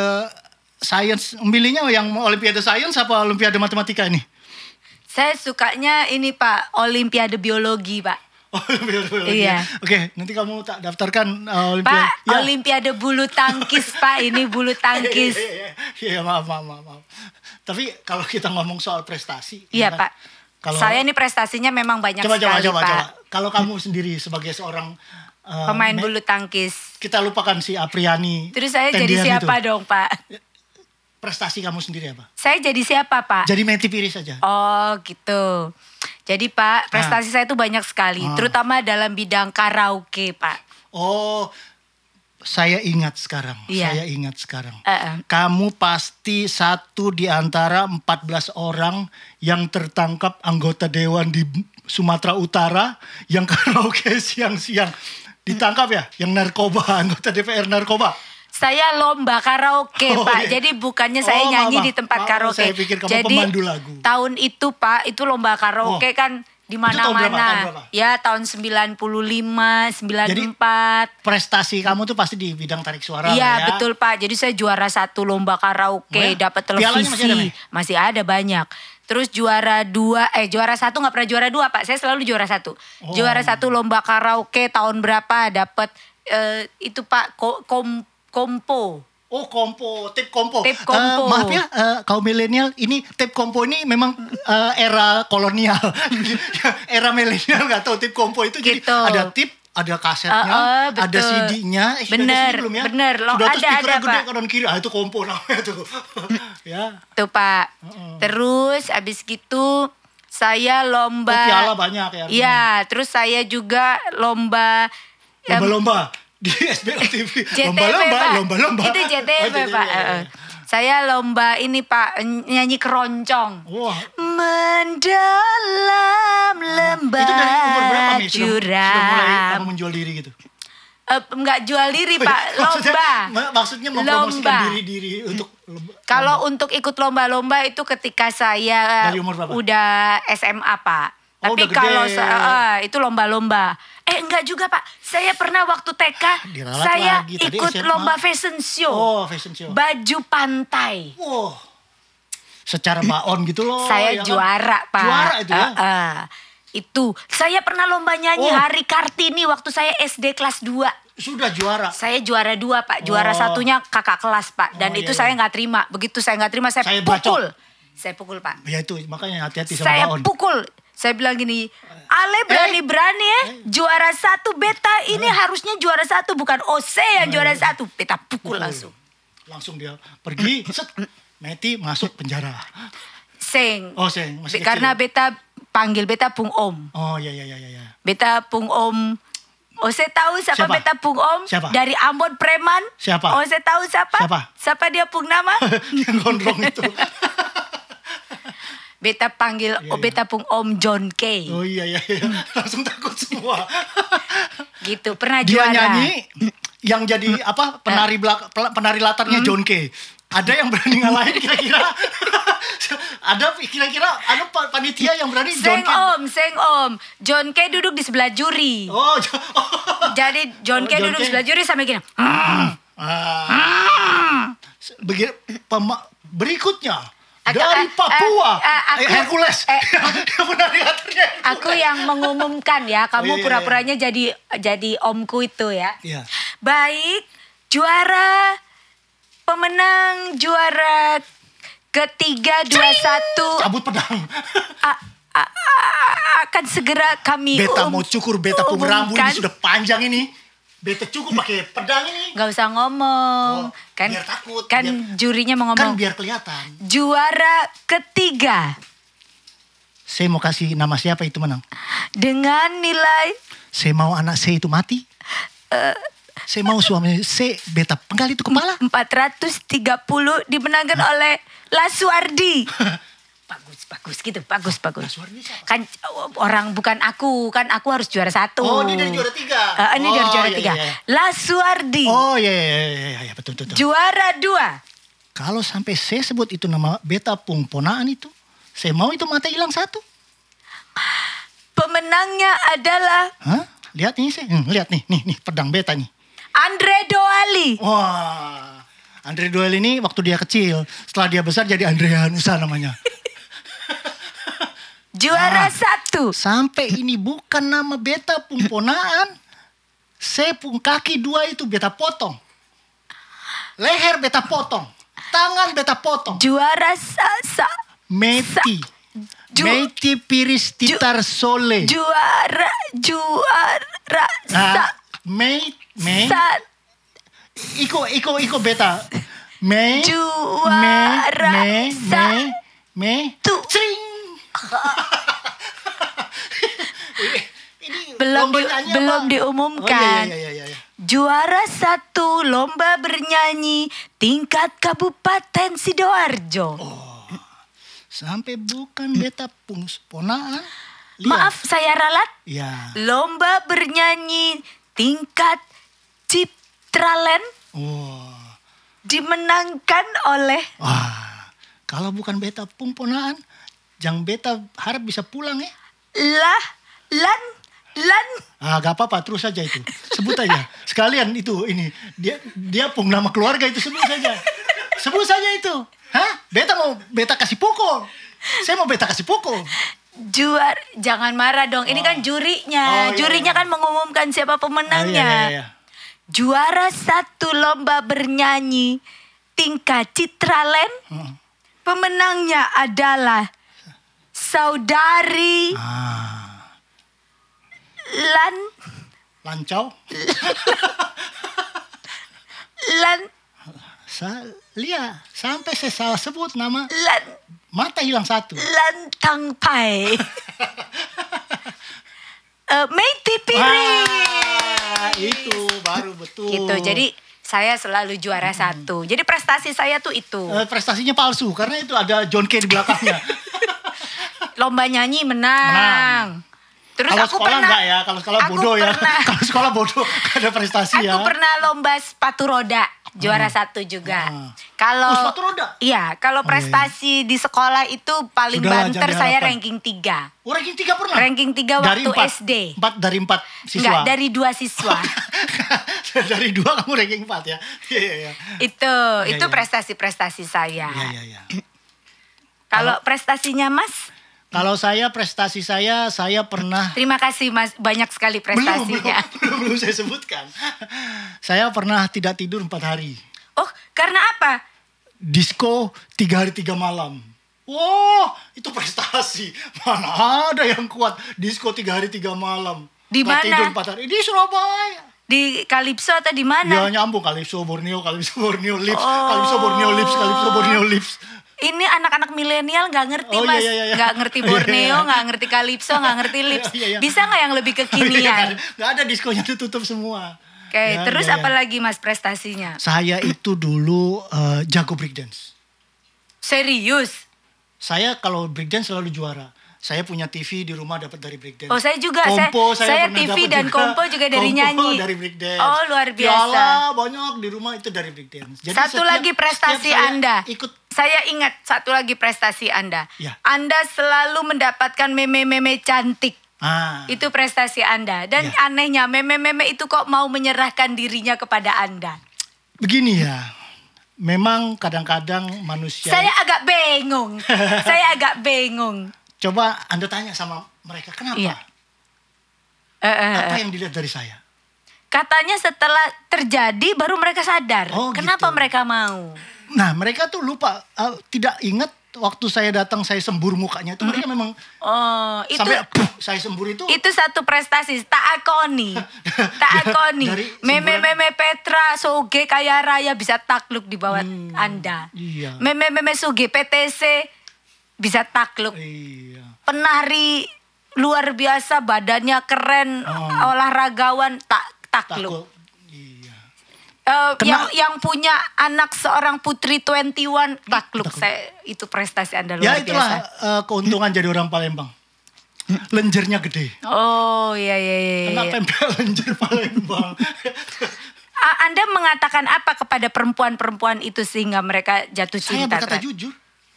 Speaker 1: science milihnya yang mau olimpiade science apa olimpiade matematika ini?
Speaker 2: Saya sukanya ini Pak Olimpiade Biologi Pak.
Speaker 1: Oh, Olimpiade biologi.
Speaker 2: Iya.
Speaker 1: Oke, nanti kamu tak daftarkan eh, olimpiade.
Speaker 2: Pak,
Speaker 1: Ya.
Speaker 2: Olimpiade bulu tangkis, Pak. Ini bulu tangkis.
Speaker 1: Iya, iya, iya, maaf, maaf, maaf, maaf. Tapi kalau kita ngomong soal prestasi,
Speaker 2: Iya,
Speaker 1: ya kan?
Speaker 2: Pak.
Speaker 1: Kalau
Speaker 2: Saya ini prestasinya memang banyak
Speaker 1: coba, coba,
Speaker 2: sekali,
Speaker 1: coba,
Speaker 2: Pak.
Speaker 1: coba. Kalau kamu sendiri sebagai seorang eh,
Speaker 2: Pemain
Speaker 1: me-
Speaker 2: bulu tangkis.
Speaker 1: kita lupakan si Apriani.
Speaker 2: Terus saya jadi
Speaker 1: Tendian
Speaker 2: siapa
Speaker 1: itu.
Speaker 2: dong, Pak?
Speaker 1: Prestasi kamu sendiri apa?
Speaker 2: Saya jadi siapa, Pak?
Speaker 1: Jadi Meti Piris saja.
Speaker 2: Oh, gitu. Jadi, Pak,
Speaker 1: Nah.
Speaker 2: prestasi saya itu banyak sekali,
Speaker 1: Ah.
Speaker 2: terutama dalam bidang karaoke, Pak.
Speaker 1: Oh, saya ingat sekarang.
Speaker 2: Iya.
Speaker 1: Saya ingat sekarang.
Speaker 2: Eh, eh.
Speaker 1: Kamu pasti satu di antara 14 orang yang tertangkap anggota dewan di Sumatera Utara yang karaoke siang-siang. Ditangkap ya yang narkoba, anggota DPR narkoba.
Speaker 2: Saya lomba karaoke,
Speaker 1: Oh,
Speaker 2: Pak.
Speaker 1: iya.
Speaker 2: Jadi bukannya saya
Speaker 1: Oh,
Speaker 2: nyanyi
Speaker 1: maaf,
Speaker 2: di tempat
Speaker 1: maaf.
Speaker 2: karaoke.
Speaker 1: Saya pikir kamu
Speaker 2: Jadi
Speaker 1: pemandu lagu.
Speaker 2: tahun itu, Pak, itu lomba karaoke
Speaker 1: Wah.
Speaker 2: kan di
Speaker 1: Itu tahun berapa? Tahun
Speaker 2: mana-mana.
Speaker 1: berapa?
Speaker 2: Ya, tahun 95, 94.
Speaker 1: Jadi- Prestasi kamu tuh pasti di bidang tarik suara
Speaker 2: Iya,
Speaker 1: ya.
Speaker 2: betul, Pak. Jadi saya juara satu lomba
Speaker 1: Oh,
Speaker 2: karaoke,
Speaker 1: ya?
Speaker 2: dapat
Speaker 1: Pialanya
Speaker 2: televisi.
Speaker 1: masih ada, Mi?
Speaker 2: Masih ada banyak. Terus juara dua, eh juara satu nggak pernah juara dua pak, saya selalu juara satu.
Speaker 1: Oh.
Speaker 2: Juara satu lomba karaoke tahun berapa dapat eh, itu pak ko- kom- kompo.
Speaker 1: Oh kompo, tip kompo.
Speaker 2: Tip kompo.
Speaker 1: Eh, maaf ya, eh, kaum milenial ini tip kompo ini memang eh, era kolonial, era milenial nggak tahu tip kompo itu jadi
Speaker 2: Gitu.
Speaker 1: ada tip, ada kasetnya,
Speaker 2: Eh, eh, betul.
Speaker 1: ada CD-nya. Eh, sudah
Speaker 2: Bener,
Speaker 1: CD belum ya?
Speaker 2: bener. Lo-
Speaker 1: sudah
Speaker 2: ada,
Speaker 1: tuh speakernya
Speaker 2: ada,
Speaker 1: gede
Speaker 2: Pak.
Speaker 1: kanan kiri, ah itu kompo namanya tuh. ya,
Speaker 2: Tuh pak. Terus abis gitu saya lomba.
Speaker 1: Oh, piala banyak ya artinya.
Speaker 2: Iya, terus saya juga lomba. ya, em,
Speaker 1: lomba-lomba di SBO TV,
Speaker 2: JTV,
Speaker 1: lomba-lomba,
Speaker 2: ya, Pak.
Speaker 1: lomba-lomba.
Speaker 2: Itu JTV,
Speaker 1: Oh,
Speaker 2: Pak.
Speaker 1: ya, ya,
Speaker 2: Eh,
Speaker 1: ya.
Speaker 2: Saya lomba ini Pak ny- nyanyi keroncong.
Speaker 1: Wah,
Speaker 2: Mendalam lembah
Speaker 1: itu dari umur berapa nih? Sudah, sudah mulai
Speaker 2: curam.
Speaker 1: kamu menjual diri gitu.
Speaker 2: eh, nggak jual diri Pak,
Speaker 1: Oh, iya. Maksudnya-
Speaker 2: lomba.
Speaker 1: ma- Maksudnya mempromosikan
Speaker 2: Lomba.
Speaker 1: diri-diri untuk lomba.
Speaker 2: Kalau untuk ikut lomba-lomba itu ketika saya
Speaker 1: Iya. Dari umur berapa?
Speaker 2: udah SMA Pak.
Speaker 1: Oh,
Speaker 2: Tapi
Speaker 1: udah gede.
Speaker 2: kalau sa- eh, itu lomba-lomba. Eh enggak juga Pak, saya pernah waktu TK
Speaker 1: Ah, Diralat
Speaker 2: saya
Speaker 1: lagi, tadi
Speaker 2: ikut
Speaker 1: SMA.
Speaker 2: lomba fashion show.
Speaker 1: Oh, fashion show.
Speaker 2: Baju pantai.
Speaker 1: Wow. Secara baon gitu loh.
Speaker 2: saya
Speaker 1: ya kan?
Speaker 2: juara Pak.
Speaker 1: Juara itu ya.
Speaker 2: Eh, eh. Itu saya pernah lomba nyanyi
Speaker 1: Oh.
Speaker 2: Hari Kartini waktu saya SD kelas 2.
Speaker 1: Sudah juara.
Speaker 2: Saya juara dua pak, juara
Speaker 1: Oh.
Speaker 2: satunya kakak kelas pak, dan
Speaker 1: Oh,
Speaker 2: itu
Speaker 1: iya,
Speaker 2: saya
Speaker 1: iya.
Speaker 2: nggak terima. Begitu saya nggak terima, saya,
Speaker 1: Saya
Speaker 2: pukul, saya pukul pak,
Speaker 1: Ya itu makanya hati-hati sama Eh?
Speaker 2: saya
Speaker 1: baon.
Speaker 2: pukul. Saya bilang gini, Ale berani berani ya, juara satu beta ini
Speaker 1: Eh?
Speaker 2: harusnya juara satu bukan OC yang juara satu, beta pukul
Speaker 1: Oh.
Speaker 2: langsung.
Speaker 1: Langsung dia pergi. Set. Meti masuk penjara.
Speaker 2: Seng,
Speaker 1: Oh, seng, masih
Speaker 2: Be- karena
Speaker 1: kecil.
Speaker 2: beta panggil beta pung om,
Speaker 1: Oh ya ya ya ya ya.
Speaker 2: beta pung om. OC tahu siapa,
Speaker 1: Siapa?
Speaker 2: beta pung om
Speaker 1: Siapa?
Speaker 2: dari Ambon preman.
Speaker 1: Siapa?
Speaker 2: OC tahu siapa?
Speaker 1: Siapa?
Speaker 2: Siapa dia pung nama?
Speaker 1: Yang gondrong itu.
Speaker 2: Beta panggil oh,
Speaker 1: Iya, iya.
Speaker 2: beta pung Om John K.
Speaker 1: Oh iya iya iya. Langsung takut semua.
Speaker 2: Gitu, pernah juara.
Speaker 1: Dia
Speaker 2: Hmm.
Speaker 1: nyanyi yang jadi apa penari belak, pel- penari latarnya John Kay. Ada yang berani ngalahin kira-kira? ada kira-kira ada pa- panitia yang berani John
Speaker 2: Seng
Speaker 1: Kay?
Speaker 2: Om, Seng Om. John K duduk di sebelah juri.
Speaker 1: Oh, Jo-
Speaker 2: Jadi John
Speaker 1: Oh,
Speaker 2: K
Speaker 1: John
Speaker 2: duduk di
Speaker 1: K.
Speaker 2: sebelah juri sampai gini.
Speaker 1: Ah. Se- Begini, pema- berikutnya
Speaker 2: Ak-
Speaker 1: dari
Speaker 2: eh,
Speaker 1: Papua,
Speaker 2: eh, eh, aku-
Speaker 1: eh, Hercules.
Speaker 2: eh.
Speaker 1: Yang penari latarnya.
Speaker 2: Aku yang mengumumkan ya,
Speaker 1: iya,
Speaker 2: kamu
Speaker 1: iya,
Speaker 2: pura-puranya jadi jadi omku itu ya.
Speaker 1: Iya.
Speaker 2: Baik, juara pemenang juara ketiga dua satu
Speaker 1: Cabut pedang.
Speaker 2: A- a- a- akan segera kami
Speaker 1: Beta
Speaker 2: um-
Speaker 1: mau cukur beta pun rambut ini
Speaker 2: umumkan.
Speaker 1: sudah panjang ini. Beta cukur pakai pedang ini.
Speaker 2: nggak usah ngomong
Speaker 1: Oh,
Speaker 2: kan
Speaker 1: biar takut,
Speaker 2: kan
Speaker 1: biar-
Speaker 2: jurinya mau
Speaker 1: Kan
Speaker 2: ngomong
Speaker 1: biar kelihatan.
Speaker 2: juara ketiga
Speaker 1: Saya mau kasih nama siapa itu menang.
Speaker 2: dengan nilai
Speaker 1: Saya mau anak saya itu mati. Saya mau suami saya beta penggal itu kepala.
Speaker 2: 430 dimenangkan oleh Lasuardi bagus bagus gitu bagus bagus
Speaker 1: Lasuardi siapa?
Speaker 2: kan oh, orang bukan aku kan aku harus juara satu
Speaker 1: Oh, dia dari juara tiga.
Speaker 2: Eh, ini dari
Speaker 1: Oh,
Speaker 2: juara
Speaker 1: iya,
Speaker 2: tiga
Speaker 1: iya, iya.
Speaker 2: Lasuardi
Speaker 1: Oh ya ya ya, ya, ya betul betul. betul.
Speaker 2: juara dua
Speaker 1: Kalau sampai saya sebut itu nama beta pung ponaan itu, saya mau itu mata hilang satu.
Speaker 2: pemenangnya adalah
Speaker 1: Hah? Lihat ini saya, Hmm, lihat nih, nih, nih pedang beta nih.
Speaker 2: Andre Doali
Speaker 1: Wah, Andre Duel ini waktu dia kecil, setelah dia besar jadi Andre Hanusa namanya.
Speaker 2: juara
Speaker 1: Ah.
Speaker 2: satu
Speaker 1: Sampai ini bukan nama beta pung ponaan, saya pung kaki dua itu beta potong, leher beta potong, tangan beta potong.
Speaker 2: juara sa- sa-
Speaker 1: Meti,
Speaker 2: Ju-
Speaker 1: Meti Piris Titar Sole.
Speaker 2: juara juara sa,
Speaker 1: Ah, Mei, Mei,
Speaker 2: sa
Speaker 1: Iko, Iko, Iko beta. Mei,
Speaker 2: Juara
Speaker 1: Mei, Mei,
Speaker 2: sa-
Speaker 1: Mei, Mei,
Speaker 2: tu.
Speaker 1: Cring. Ini
Speaker 2: belum di-
Speaker 1: lombanya
Speaker 2: belum
Speaker 1: apa?
Speaker 2: diumumkan
Speaker 1: Oh, iya, iya, iya, iya.
Speaker 2: juara satu lomba bernyanyi tingkat kabupaten sidoarjo
Speaker 1: Oh, Sampai bukan beta pung ponaan. Lihat.
Speaker 2: maaf saya ralat
Speaker 1: Ya.
Speaker 2: lomba bernyanyi tingkat citralen
Speaker 1: Wah.
Speaker 2: dimenangkan oleh
Speaker 1: Wah. Kalau bukan beta pung ponaan, jang beta harap bisa pulang ya.
Speaker 2: lah lan lan
Speaker 1: Ah, gak apa-apa, terus saja itu. Sebut aja. Sekalian itu ini dia dia pun nama keluarga itu sebut saja. Sebut saja itu. Hah? Beta mau beta kasih pukul. Saya mau beta kasih pukul.
Speaker 2: juara jangan marah dong ini kan
Speaker 1: Oh,
Speaker 2: jurinya
Speaker 1: iya,
Speaker 2: jurinya
Speaker 1: iya.
Speaker 2: kan mengumumkan siapa
Speaker 1: Ah,
Speaker 2: pemenangnya
Speaker 1: iya, iya, iya.
Speaker 2: juara satu lomba bernyanyi tingkat Citralen.
Speaker 1: Hmm.
Speaker 2: Pemenangnya adalah saudari
Speaker 1: Ah,
Speaker 2: Lan
Speaker 1: lancau.
Speaker 2: Lan
Speaker 1: Saya lihat sampai saya salah sebut nama
Speaker 2: Lan
Speaker 1: mata hilang satu.
Speaker 2: Lan Tang Pai. Eh, Meiti Piring.
Speaker 1: Wah, itu baru betul.
Speaker 2: Gitu. Jadi saya selalu juara satu. Jadi prestasi saya tuh itu.
Speaker 1: Hmm. Eh, prestasinya palsu karena itu ada John Kay di belakangnya.
Speaker 2: Lomba nyanyi menang.
Speaker 1: Menang.
Speaker 2: Terus
Speaker 1: kalau
Speaker 2: aku
Speaker 1: sekolah
Speaker 2: pernah-
Speaker 1: enggak ya, kalau sekolah
Speaker 2: aku
Speaker 1: bodoh ya.
Speaker 2: pernah-
Speaker 1: Kalau sekolah bodoh gak ada prestasi
Speaker 2: Aku
Speaker 1: ya.
Speaker 2: pernah lomba sepatu roda juara satu juga.
Speaker 1: Hmm.
Speaker 2: Kalau
Speaker 1: Oh, sepatu roda? Oh,
Speaker 2: Iya, kalau prestasi di sekolah itu paling
Speaker 1: Sudahlah,
Speaker 2: banter
Speaker 1: jangan
Speaker 2: saya ranking
Speaker 1: diharapkan.
Speaker 2: 3.
Speaker 1: Oh, ranking 3 pernah?
Speaker 2: Ranking tiga
Speaker 1: Dari
Speaker 2: waktu
Speaker 1: empat.
Speaker 2: SD.
Speaker 1: Empat dari 4 siswa.
Speaker 2: Enggak, dari dua siswa.
Speaker 1: dari 2 kamu ranking 4 ya. Iya iya iya.
Speaker 2: itu
Speaker 1: Iya,
Speaker 2: itu
Speaker 1: iya.
Speaker 2: prestasi-prestasi saya.
Speaker 1: Iya iya iya.
Speaker 2: Kalau prestasinya Mas,
Speaker 1: Kalau saya prestasi saya saya pernah
Speaker 2: terima kasih Mas banyak sekali
Speaker 1: belum, belum
Speaker 2: prestasinya.
Speaker 1: belum belum saya sebutkan. saya pernah tidak tidur 4 hari.
Speaker 2: Oh, karena apa?
Speaker 1: Disco 3 hari 3 malam. Wow, itu prestasi. Mana ada yang kuat disco 3 hari 3 malam.
Speaker 2: Di
Speaker 1: Nggak
Speaker 2: mana?
Speaker 1: Tidur 4 hari. Di Surabaya.
Speaker 2: Di Kalipso atau di mana? Oh.
Speaker 1: Ya nyambung Calypso Borneo, Calypso Borneo Lips, Calypso Borneo Lips, Calypso Borneo Lips.
Speaker 2: Ini anak-anak milenial nggak ngerti
Speaker 1: Oh, iya,
Speaker 2: mas,
Speaker 1: iya, iya.
Speaker 2: nggak ngerti
Speaker 1: Iya, iya,
Speaker 2: Borneo,
Speaker 1: iya.
Speaker 2: nggak ngerti Kalipso, nggak ngerti Lips.
Speaker 1: Iya, iya, iya.
Speaker 2: Bisa nggak yang lebih kekinian?
Speaker 1: kan? Gak ada diskonya ditutup semua.
Speaker 2: Oke,
Speaker 1: Ya,
Speaker 2: terus
Speaker 1: ya, ya.
Speaker 2: apalagi mas prestasinya?
Speaker 1: Saya itu dulu eh, jago breakdance.
Speaker 2: Serius?
Speaker 1: Saya kalau breakdance selalu juara. Saya punya TV di rumah dapat dari breakdance.
Speaker 2: Oh, saya juga. Saya-
Speaker 1: Kompo saya,
Speaker 2: saya
Speaker 1: pernah
Speaker 2: TV
Speaker 1: dapat
Speaker 2: dan
Speaker 1: juga.
Speaker 2: kompo juga dari
Speaker 1: Kompo
Speaker 2: nyanyi.
Speaker 1: dari breakdance.
Speaker 2: Oh, luar biasa.
Speaker 1: Piala banyak di rumah itu dari breakdance. Jadi
Speaker 2: satu
Speaker 1: setiap-
Speaker 2: lagi prestasi
Speaker 1: setiap saya
Speaker 2: Anda.
Speaker 1: Ikut
Speaker 2: Saya ingat satu lagi prestasi Anda.
Speaker 1: Ya.
Speaker 2: Anda selalu mendapatkan meme-meme cantik.
Speaker 1: ah,
Speaker 2: Itu prestasi Anda. Dan
Speaker 1: Ya.
Speaker 2: anehnya meme-meme itu kok mau menyerahkan dirinya kepada Anda.
Speaker 1: begini ya. Memang kadang-kadang manusia
Speaker 2: Saya agak bingung. saya agak bingung.
Speaker 1: Coba Anda tanya sama mereka, kenapa?
Speaker 2: Iya. Eh, eh, eh.
Speaker 1: Apa yang dilihat dari saya?
Speaker 2: Katanya setelah terjadi baru mereka sadar.
Speaker 1: Oh,
Speaker 2: Kenapa
Speaker 1: gitu.
Speaker 2: mereka mau?
Speaker 1: Nah, mereka tuh lupa, eh, tidak ingat waktu saya datang saya sembur mukanya. Itu mereka memang
Speaker 2: Oh, itu
Speaker 1: sampai "Puh," saya sembur itu.
Speaker 2: itu satu prestasi tak akoni tak akoni
Speaker 1: Ya, Dari
Speaker 2: meme
Speaker 1: sebulan-
Speaker 2: meme Petra Soge kaya raya bisa takluk di bawah anda
Speaker 1: Hmm, iya.
Speaker 2: meme meme Soge PTC bisa takluk
Speaker 1: Iya.
Speaker 2: penari luar biasa badannya keren
Speaker 1: Oh.
Speaker 2: olahragawan tak takluk
Speaker 1: Takut. Iya.
Speaker 2: Eh, yang
Speaker 1: Kena-
Speaker 2: yang punya anak seorang putri 21 takluk
Speaker 1: Takluk.
Speaker 2: saya itu prestasi anda
Speaker 1: Ya
Speaker 2: luar
Speaker 1: itulah
Speaker 2: biasa
Speaker 1: eh, keuntungan jadi orang Palembang. Lenjernya gede.
Speaker 2: oh iya iya iya, iya.
Speaker 1: Kena pempek lenjer Palembang.
Speaker 2: A- Anda mengatakan apa kepada perempuan-perempuan itu sehingga mereka jatuh
Speaker 1: saya
Speaker 2: cinta?
Speaker 1: berkata
Speaker 2: terhadap-
Speaker 1: jujur.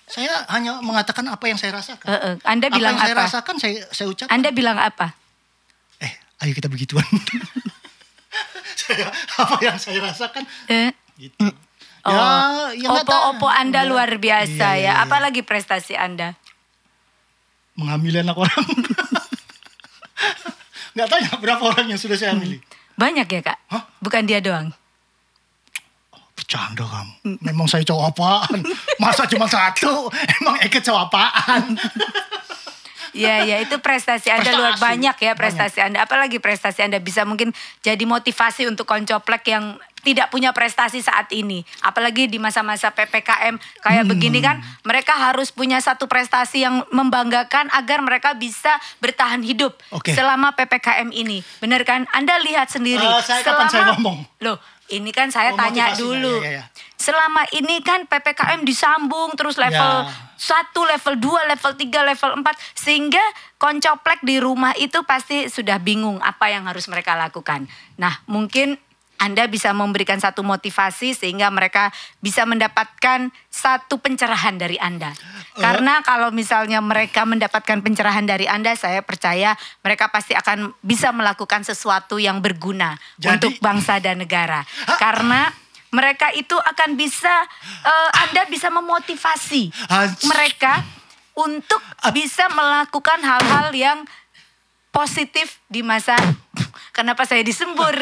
Speaker 1: Saya hanya mengatakan apa yang saya rasakan.
Speaker 2: Eh, eh. Anda
Speaker 1: apa
Speaker 2: bilang
Speaker 1: yang saya
Speaker 2: apa?
Speaker 1: rasakan saya saya ucapkan.
Speaker 2: Anda bilang apa?
Speaker 1: eh ayo kita begituan saya, apa yang saya rasakan
Speaker 2: Eh,
Speaker 1: gitu
Speaker 2: oh,
Speaker 1: ya nggak tahu.
Speaker 2: opo-opo Anda
Speaker 1: Ya.
Speaker 2: luar biasa
Speaker 1: Iya, iya,
Speaker 2: ya.
Speaker 1: iya.
Speaker 2: Apalagi prestasi Anda?
Speaker 1: menghamili anak orang nggak tanya berapa orang yang sudah
Speaker 2: Hmm.
Speaker 1: saya hamili
Speaker 2: Banyak ya kak?
Speaker 1: Hah?
Speaker 2: Bukan dia doang.
Speaker 1: bercanda kamu memang saya cowok apaan masa cuma satu emang Eke cowok apaan
Speaker 2: Iya ya itu prestasi Anda luar
Speaker 1: Prestasi.
Speaker 2: banyak ya prestasi Anda. Apalagi prestasi Anda bisa mungkin jadi motivasi untuk koncoplek yang tidak punya prestasi saat ini. Apalagi di masa-masa PPKM
Speaker 1: Hmm.
Speaker 2: kayak begini kan mereka harus punya satu prestasi yang membanggakan agar mereka bisa bertahan hidup
Speaker 1: Oke.
Speaker 2: selama PPKM ini. Benar kan? Anda lihat sendiri.
Speaker 1: Eh, saya kapan saya ngomong?
Speaker 2: Loh, ini kan saya
Speaker 1: Oh,
Speaker 2: tanya
Speaker 1: motivasi.
Speaker 2: dulu.
Speaker 1: Ya, ya, ya.
Speaker 2: Selama ini kan PPKM disambung terus level
Speaker 1: Ya.
Speaker 2: satu level 2, level 3, level 4 sehingga koncoplek di rumah itu pasti sudah bingung apa yang harus mereka lakukan. Nah, mungkin Anda bisa memberikan satu motivasi sehingga mereka bisa mendapatkan satu pencerahan dari Anda. Karena kalau misalnya mereka mendapatkan pencerahan dari Anda, saya percaya mereka pasti akan bisa melakukan sesuatu yang berguna
Speaker 1: Jadi-
Speaker 2: untuk bangsa dan negara. Karena mereka itu akan bisa eh, Anda bisa memotivasi
Speaker 1: Hans.
Speaker 2: mereka untuk bisa melakukan hal-hal yang positif di masa kenapa saya disembur.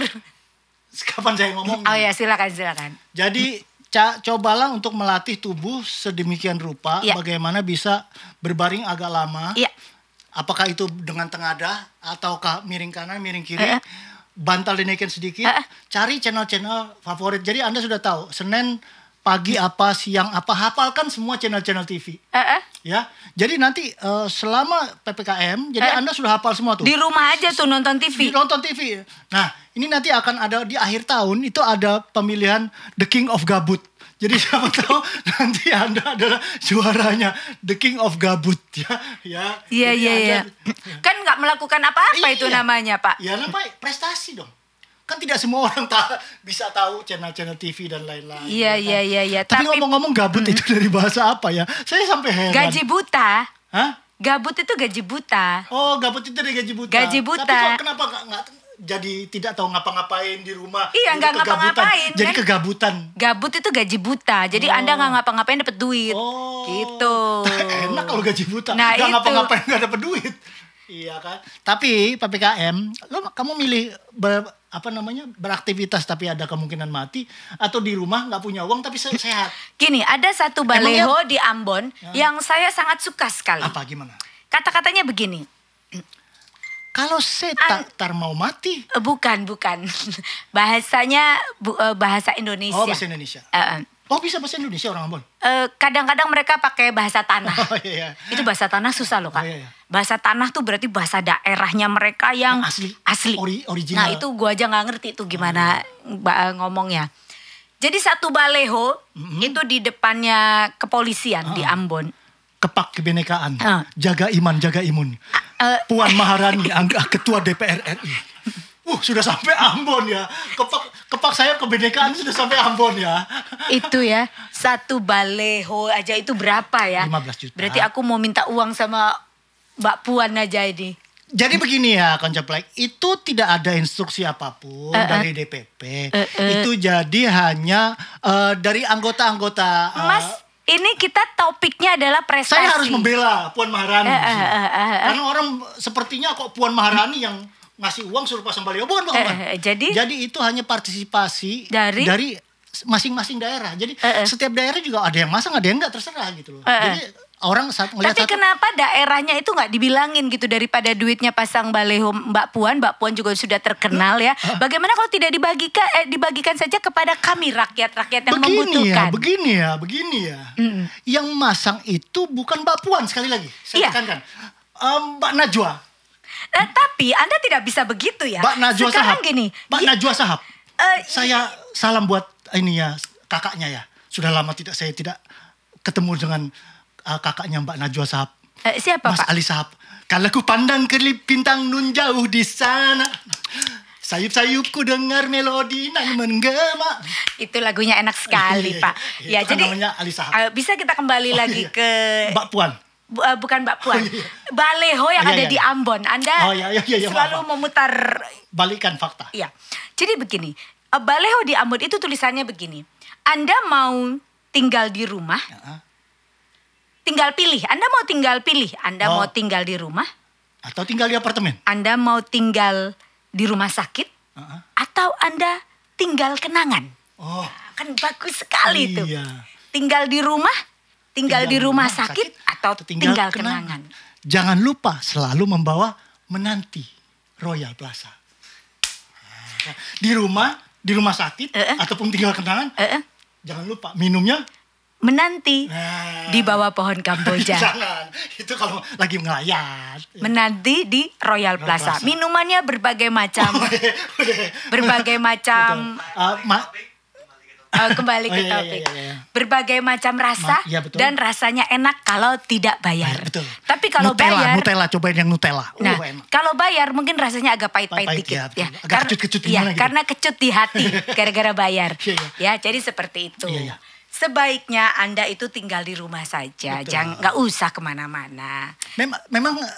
Speaker 1: kapan saya ngomong
Speaker 2: Oh ya, silakan silakan.
Speaker 1: Jadi ca- cobalah untuk melatih tubuh sedemikian rupa
Speaker 2: Iya.
Speaker 1: bagaimana bisa berbaring agak lama.
Speaker 2: Iya.
Speaker 1: Apakah itu dengan tengadah ataukah miring kanan, miring kiri?
Speaker 2: Eh, eh.
Speaker 1: Bantal dinaikin sedikit.
Speaker 2: Eh, eh.
Speaker 1: Cari channel-channel favorit. Jadi Anda sudah tahu Senin pagi apa, siang apa, hafalkan semua channel-channel TV.
Speaker 2: Eh, eh,
Speaker 1: Ya. Jadi nanti eh, selama PPKM jadi
Speaker 2: Eh, eh.
Speaker 1: Anda sudah hafal semua tuh
Speaker 2: di rumah aja tuh nonton TV.
Speaker 1: nonton TV. Nah, ini nanti akan ada di akhir tahun itu ada pemilihan The King of Gabut. Jadi siapa tahu nanti Anda adalah juaranya The King of Gabut ya. Ya.
Speaker 2: Iya,
Speaker 1: Jadi
Speaker 2: iya,
Speaker 1: Anda-
Speaker 2: iya. Kan nggak melakukan apa-apa itu
Speaker 1: Iya.
Speaker 2: namanya, Pak.
Speaker 1: Ya namanya prestasi dong. Kan tidak semua orang ta- bisa tahu channel-channel TV dan lain-lain.
Speaker 2: Iya,
Speaker 1: ya kan?
Speaker 2: iya, iya, iya.
Speaker 1: Tapi,
Speaker 2: Tapi,
Speaker 1: ngomong-ngomong gabut itu dari bahasa apa ya? Saya sampai heran.
Speaker 2: gaji buta,
Speaker 1: Hah?
Speaker 2: gabut itu gaji buta.
Speaker 1: Oh, gabut itu dari gaji buta.
Speaker 2: Gaji buta.
Speaker 1: Tapi kok kenapa nggak nggak jadi tidak tahu ngapa-ngapain di rumah?
Speaker 2: Iya,
Speaker 1: Jadi
Speaker 2: nggak
Speaker 1: kegabutan.
Speaker 2: ngapa-ngapain,
Speaker 1: Jadi
Speaker 2: kan?
Speaker 1: kegabutan.
Speaker 2: Gabut itu gaji buta. Jadi Anda nggak ngapa-ngapain dapat duit.
Speaker 1: Oh.
Speaker 2: Gitu.
Speaker 1: Enak kalau gaji buta.
Speaker 2: Nah,
Speaker 1: nggak
Speaker 2: itu.
Speaker 1: ngapa-ngapain nggak dapat duit. Iya kan? Tapi PPKM, lo kamu milih ber- apa namanya beraktivitas tapi ada kemungkinan mati atau di rumah nggak punya uang tapi se- sehat
Speaker 2: Gini, ada satu
Speaker 1: Emangnya-
Speaker 2: baleho di Ambon yang saya sangat suka sekali.
Speaker 1: ya? apa gimana?
Speaker 2: Kata-katanya begini.
Speaker 1: Kalau seta tar mau mati,
Speaker 2: Eh, Bukan, bukan. Bahasanya bu- eh, bahasa Indonesia.
Speaker 1: oh bahasa Indonesia.
Speaker 2: Eh, eh.
Speaker 1: Oh bisa bahasa Indonesia orang Ambon.
Speaker 2: Eh, kadang-kadang mereka pakai bahasa tanah.
Speaker 1: Oh iya. iya.
Speaker 2: Itu bahasa tanah susah loh kak.
Speaker 1: Oh, iya, iya.
Speaker 2: Bahasa tanah tuh berarti bahasa daerahnya mereka yang
Speaker 1: Yang asli.
Speaker 2: asli.
Speaker 1: Ori- original. Oh, iya.
Speaker 2: Nah itu gua aja nggak ngerti tuh gimana ba- ngomongnya. Jadi satu baleho
Speaker 1: Mm-hmm.
Speaker 2: itu di depannya kepolisian di
Speaker 1: Ah.
Speaker 2: Ambon.
Speaker 1: Kepak kebenekaan,
Speaker 2: Ah.
Speaker 1: jaga iman, jaga imun.
Speaker 2: eh.
Speaker 1: Puan Maharani, angga ketua DPR RI. Uh, sudah sampai Ambon ya. Kepak kepak saya kebenekaan sudah sampai Ambon ya.
Speaker 2: Itu ya satu baleho aja itu berapa ya?
Speaker 1: 15 juta.
Speaker 2: Berarti aku mau minta uang sama Mbak Puan aja ini.
Speaker 1: Jadi begini ya, Koncaplek, itu tidak ada instruksi apapun
Speaker 2: Eh, eh.
Speaker 1: dari DPP.
Speaker 2: Eh, eh.
Speaker 1: Itu jadi hanya eh, dari anggota-anggota. eh,
Speaker 2: Mas, ini kita topiknya adalah prestasi.
Speaker 1: saya harus membela Puan
Speaker 2: Eh,
Speaker 1: Maharani.
Speaker 2: eh,
Speaker 1: di sini.
Speaker 2: eh, eh, eh.
Speaker 1: Karena orang sepertinya kok Puan Maharani yang ngasih uang suruh pasang baliho bukan bukan.
Speaker 2: Eh,
Speaker 1: bukan.
Speaker 2: eh, jadi?
Speaker 1: itu hanya partisipasi
Speaker 2: Dari?
Speaker 1: masing-masing daerah. Jadi
Speaker 2: Eh, eh.
Speaker 1: setiap daerah juga ada yang masang, ada yang enggak terserah gitu loh.
Speaker 2: Eh, eh.
Speaker 1: Jadi orang saat ngelihat
Speaker 2: Tapi
Speaker 1: satu-
Speaker 2: kenapa daerahnya itu nggak dibilangin gitu daripada duitnya pasang baleho Mbak Puan, Mbak Puan juga sudah terkenal ya.
Speaker 1: Eh,
Speaker 2: Bagaimana kalau tidak dibagikan eh, dibagikan saja kepada kami rakyat-rakyat yang
Speaker 1: begini ya,
Speaker 2: membutuhkan?
Speaker 1: begini ya, begini ya. Yang masang itu bukan Mbak Puan sekali lagi.
Speaker 2: Iya.
Speaker 1: Saya tekankan. Em, Mbak Najwa,
Speaker 2: Eh, tapi Anda tidak bisa begitu ya.
Speaker 1: Mbak Najwa
Speaker 2: Sekarang
Speaker 1: Sahab.
Speaker 2: gini,
Speaker 1: Mbak
Speaker 2: ya,
Speaker 1: Najwa Sahab.
Speaker 2: eh,
Speaker 1: Saya salam buat ini ya kakaknya ya. Sudah lama tidak saya tidak ketemu dengan uh, kakaknya Mbak Najwa Sahab.
Speaker 2: eh, siapa
Speaker 1: Mas
Speaker 2: Pak?
Speaker 1: Ali Sahab. Kalau ku pandang kelip bintang nun jauh di sana. Sayup-sayupku dengar melodi nan menggema.
Speaker 2: Itu lagunya enak sekali
Speaker 1: Iya,
Speaker 2: Pak. Ya
Speaker 1: iya, itu kan
Speaker 2: jadi
Speaker 1: namanya Ali Sahab.
Speaker 2: eh, bisa kita kembali
Speaker 1: Oh,
Speaker 2: lagi
Speaker 1: iya.
Speaker 2: ke
Speaker 1: Mbak Puan.
Speaker 2: Bu- eh, bukan Mbak Puan, baleho yang
Speaker 1: Iya,
Speaker 2: ada
Speaker 1: iya.
Speaker 2: di Ambon. Anda
Speaker 1: Oh, iya, iya, iya, iya,
Speaker 2: selalu
Speaker 1: maaf, maaf.
Speaker 2: memutar
Speaker 1: Balikan fakta.
Speaker 2: Iya. Jadi begini, eh, Baleho di Ambon itu tulisannya begini. Anda mau tinggal di rumah,
Speaker 1: Ya.
Speaker 2: tinggal pilih. Anda mau tinggal pilih, Anda
Speaker 1: Oh.
Speaker 2: mau tinggal di rumah,
Speaker 1: Atau tinggal di apartemen.
Speaker 2: Anda mau tinggal di rumah sakit,
Speaker 1: Heeh.
Speaker 2: atau Anda tinggal kenangan.
Speaker 1: Oh,
Speaker 2: Kan bagus sekali itu.
Speaker 1: Iya.
Speaker 2: Tinggal di rumah, tinggal, di rumah, sakit, atau tinggal, kenangan.
Speaker 1: Jangan lupa selalu membawa menanti Royal Plaza. Nah, Di rumah, di rumah sakit
Speaker 2: Eh, eh.
Speaker 1: ataupun tinggal kenangan,
Speaker 2: Eh, eh,
Speaker 1: jangan lupa minumnya
Speaker 2: menanti
Speaker 1: Nah.
Speaker 2: di bawah pohon kamboja.
Speaker 1: jangan. Itu kalau lagi ngelayat.
Speaker 2: menanti di Royal Plaza.
Speaker 1: Plaza. Oh, iya.
Speaker 2: Minumannya berbagai macam. berbagai macam
Speaker 1: Eh, ma-
Speaker 2: eh, kembali ke
Speaker 1: Oh, iya, iya,
Speaker 2: topik.
Speaker 1: iya, iya.
Speaker 2: Berbagai macam rasa
Speaker 1: Ma- iya, betul.
Speaker 2: dan rasanya enak kalau tidak bayar.
Speaker 1: betul.
Speaker 2: Tapi kalau
Speaker 1: Nutella,
Speaker 2: bayar
Speaker 1: Nutella, cobain yang Nutella. Uh,
Speaker 2: Nah,
Speaker 1: enak.
Speaker 2: kalau bayar mungkin rasanya agak pahit-pahit dikit
Speaker 1: Pahit-pahit,
Speaker 2: ya.
Speaker 1: ya, betul. Agak
Speaker 2: Karena-
Speaker 1: kecut-kecut
Speaker 2: iya,
Speaker 1: gimana gitu.
Speaker 2: karena kecut di hati gara-gara bayar.
Speaker 1: Iya, iya.
Speaker 2: Ya, jadi seperti itu.
Speaker 1: Iya, iya.
Speaker 2: Sebaiknya Anda itu tinggal di rumah saja,
Speaker 1: Betul.
Speaker 2: jangan nggak usah kemana-mana.
Speaker 1: Memang, memang eh,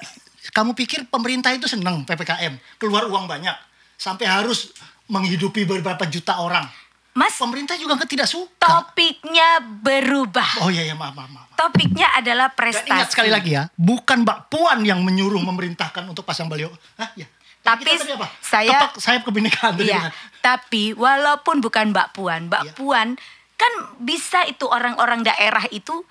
Speaker 1: kamu pikir pemerintah itu senang PPKM, keluar uang banyak, sampai harus menghidupi beberapa juta orang.
Speaker 2: Mas,
Speaker 1: Pemerintah juga kan tidak suka.
Speaker 2: topiknya berubah.
Speaker 1: Oh iya, iya, maaf, maaf, maaf.
Speaker 2: Topiknya adalah
Speaker 1: Dan
Speaker 2: prestasi.
Speaker 1: ingat sekali lagi ya, bukan Mbak Puan yang menyuruh memerintahkan untuk pasang baliho. Hah, ya.
Speaker 2: Tapi
Speaker 1: Kita tadi apa?
Speaker 2: saya-
Speaker 1: Kepak sayap kebinekaan tadi
Speaker 2: Iya,
Speaker 1: kan?
Speaker 2: tapi walaupun bukan Mbak Puan, Mbak
Speaker 1: Iya.
Speaker 2: Puan kan bisa itu orang-orang daerah itu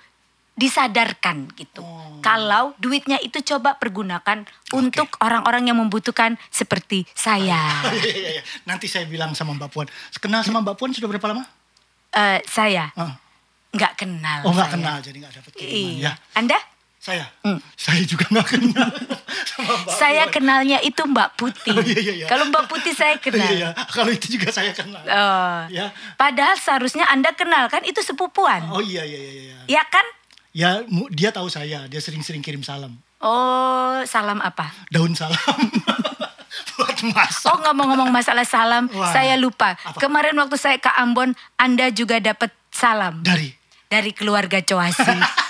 Speaker 2: disadarkan gitu.
Speaker 1: Oh.
Speaker 2: Kalau duitnya itu coba pergunakan untuk orang-orang yang membutuhkan seperti saya.
Speaker 1: Iya, iya, iya. Nanti saya bilang sama Mbak Puan. Kenal sama Mbak Puan sudah berapa lama?
Speaker 2: Eh, saya
Speaker 1: Ah.
Speaker 2: nggak kenal.
Speaker 1: Oh
Speaker 2: Nah,
Speaker 1: nggak
Speaker 2: saya.
Speaker 1: kenal, jadi nggak dapat kiriman
Speaker 2: Iya.
Speaker 1: ya.
Speaker 2: Anda?
Speaker 1: Saya. Saya juga nggak kenal sama Mbak
Speaker 2: Saya
Speaker 1: Puan.
Speaker 2: kenalnya itu Mbak Putih.
Speaker 1: Oh, iya, iya, iya.
Speaker 2: Kalau Mbak Putih saya kenal.
Speaker 1: Iya, iya. Kalau itu juga saya kenal.
Speaker 2: Oh.
Speaker 1: Ya.
Speaker 2: Padahal seharusnya Anda kenal kan itu sepupuan.
Speaker 1: Oh iya iya iya iya.
Speaker 2: Ya kan?
Speaker 1: Ya mu- dia tahu saya, dia sering-sering kirim salam.
Speaker 2: Oh, salam apa?
Speaker 1: Daun salam. Buat Mas.
Speaker 2: Oh, ngomong-ngomong masalah salam,
Speaker 1: Wah.
Speaker 2: saya lupa.
Speaker 1: Apa?
Speaker 2: Kemarin waktu saya ke Ambon, Anda juga dapat salam
Speaker 1: Dari
Speaker 2: dari keluarga Coasi.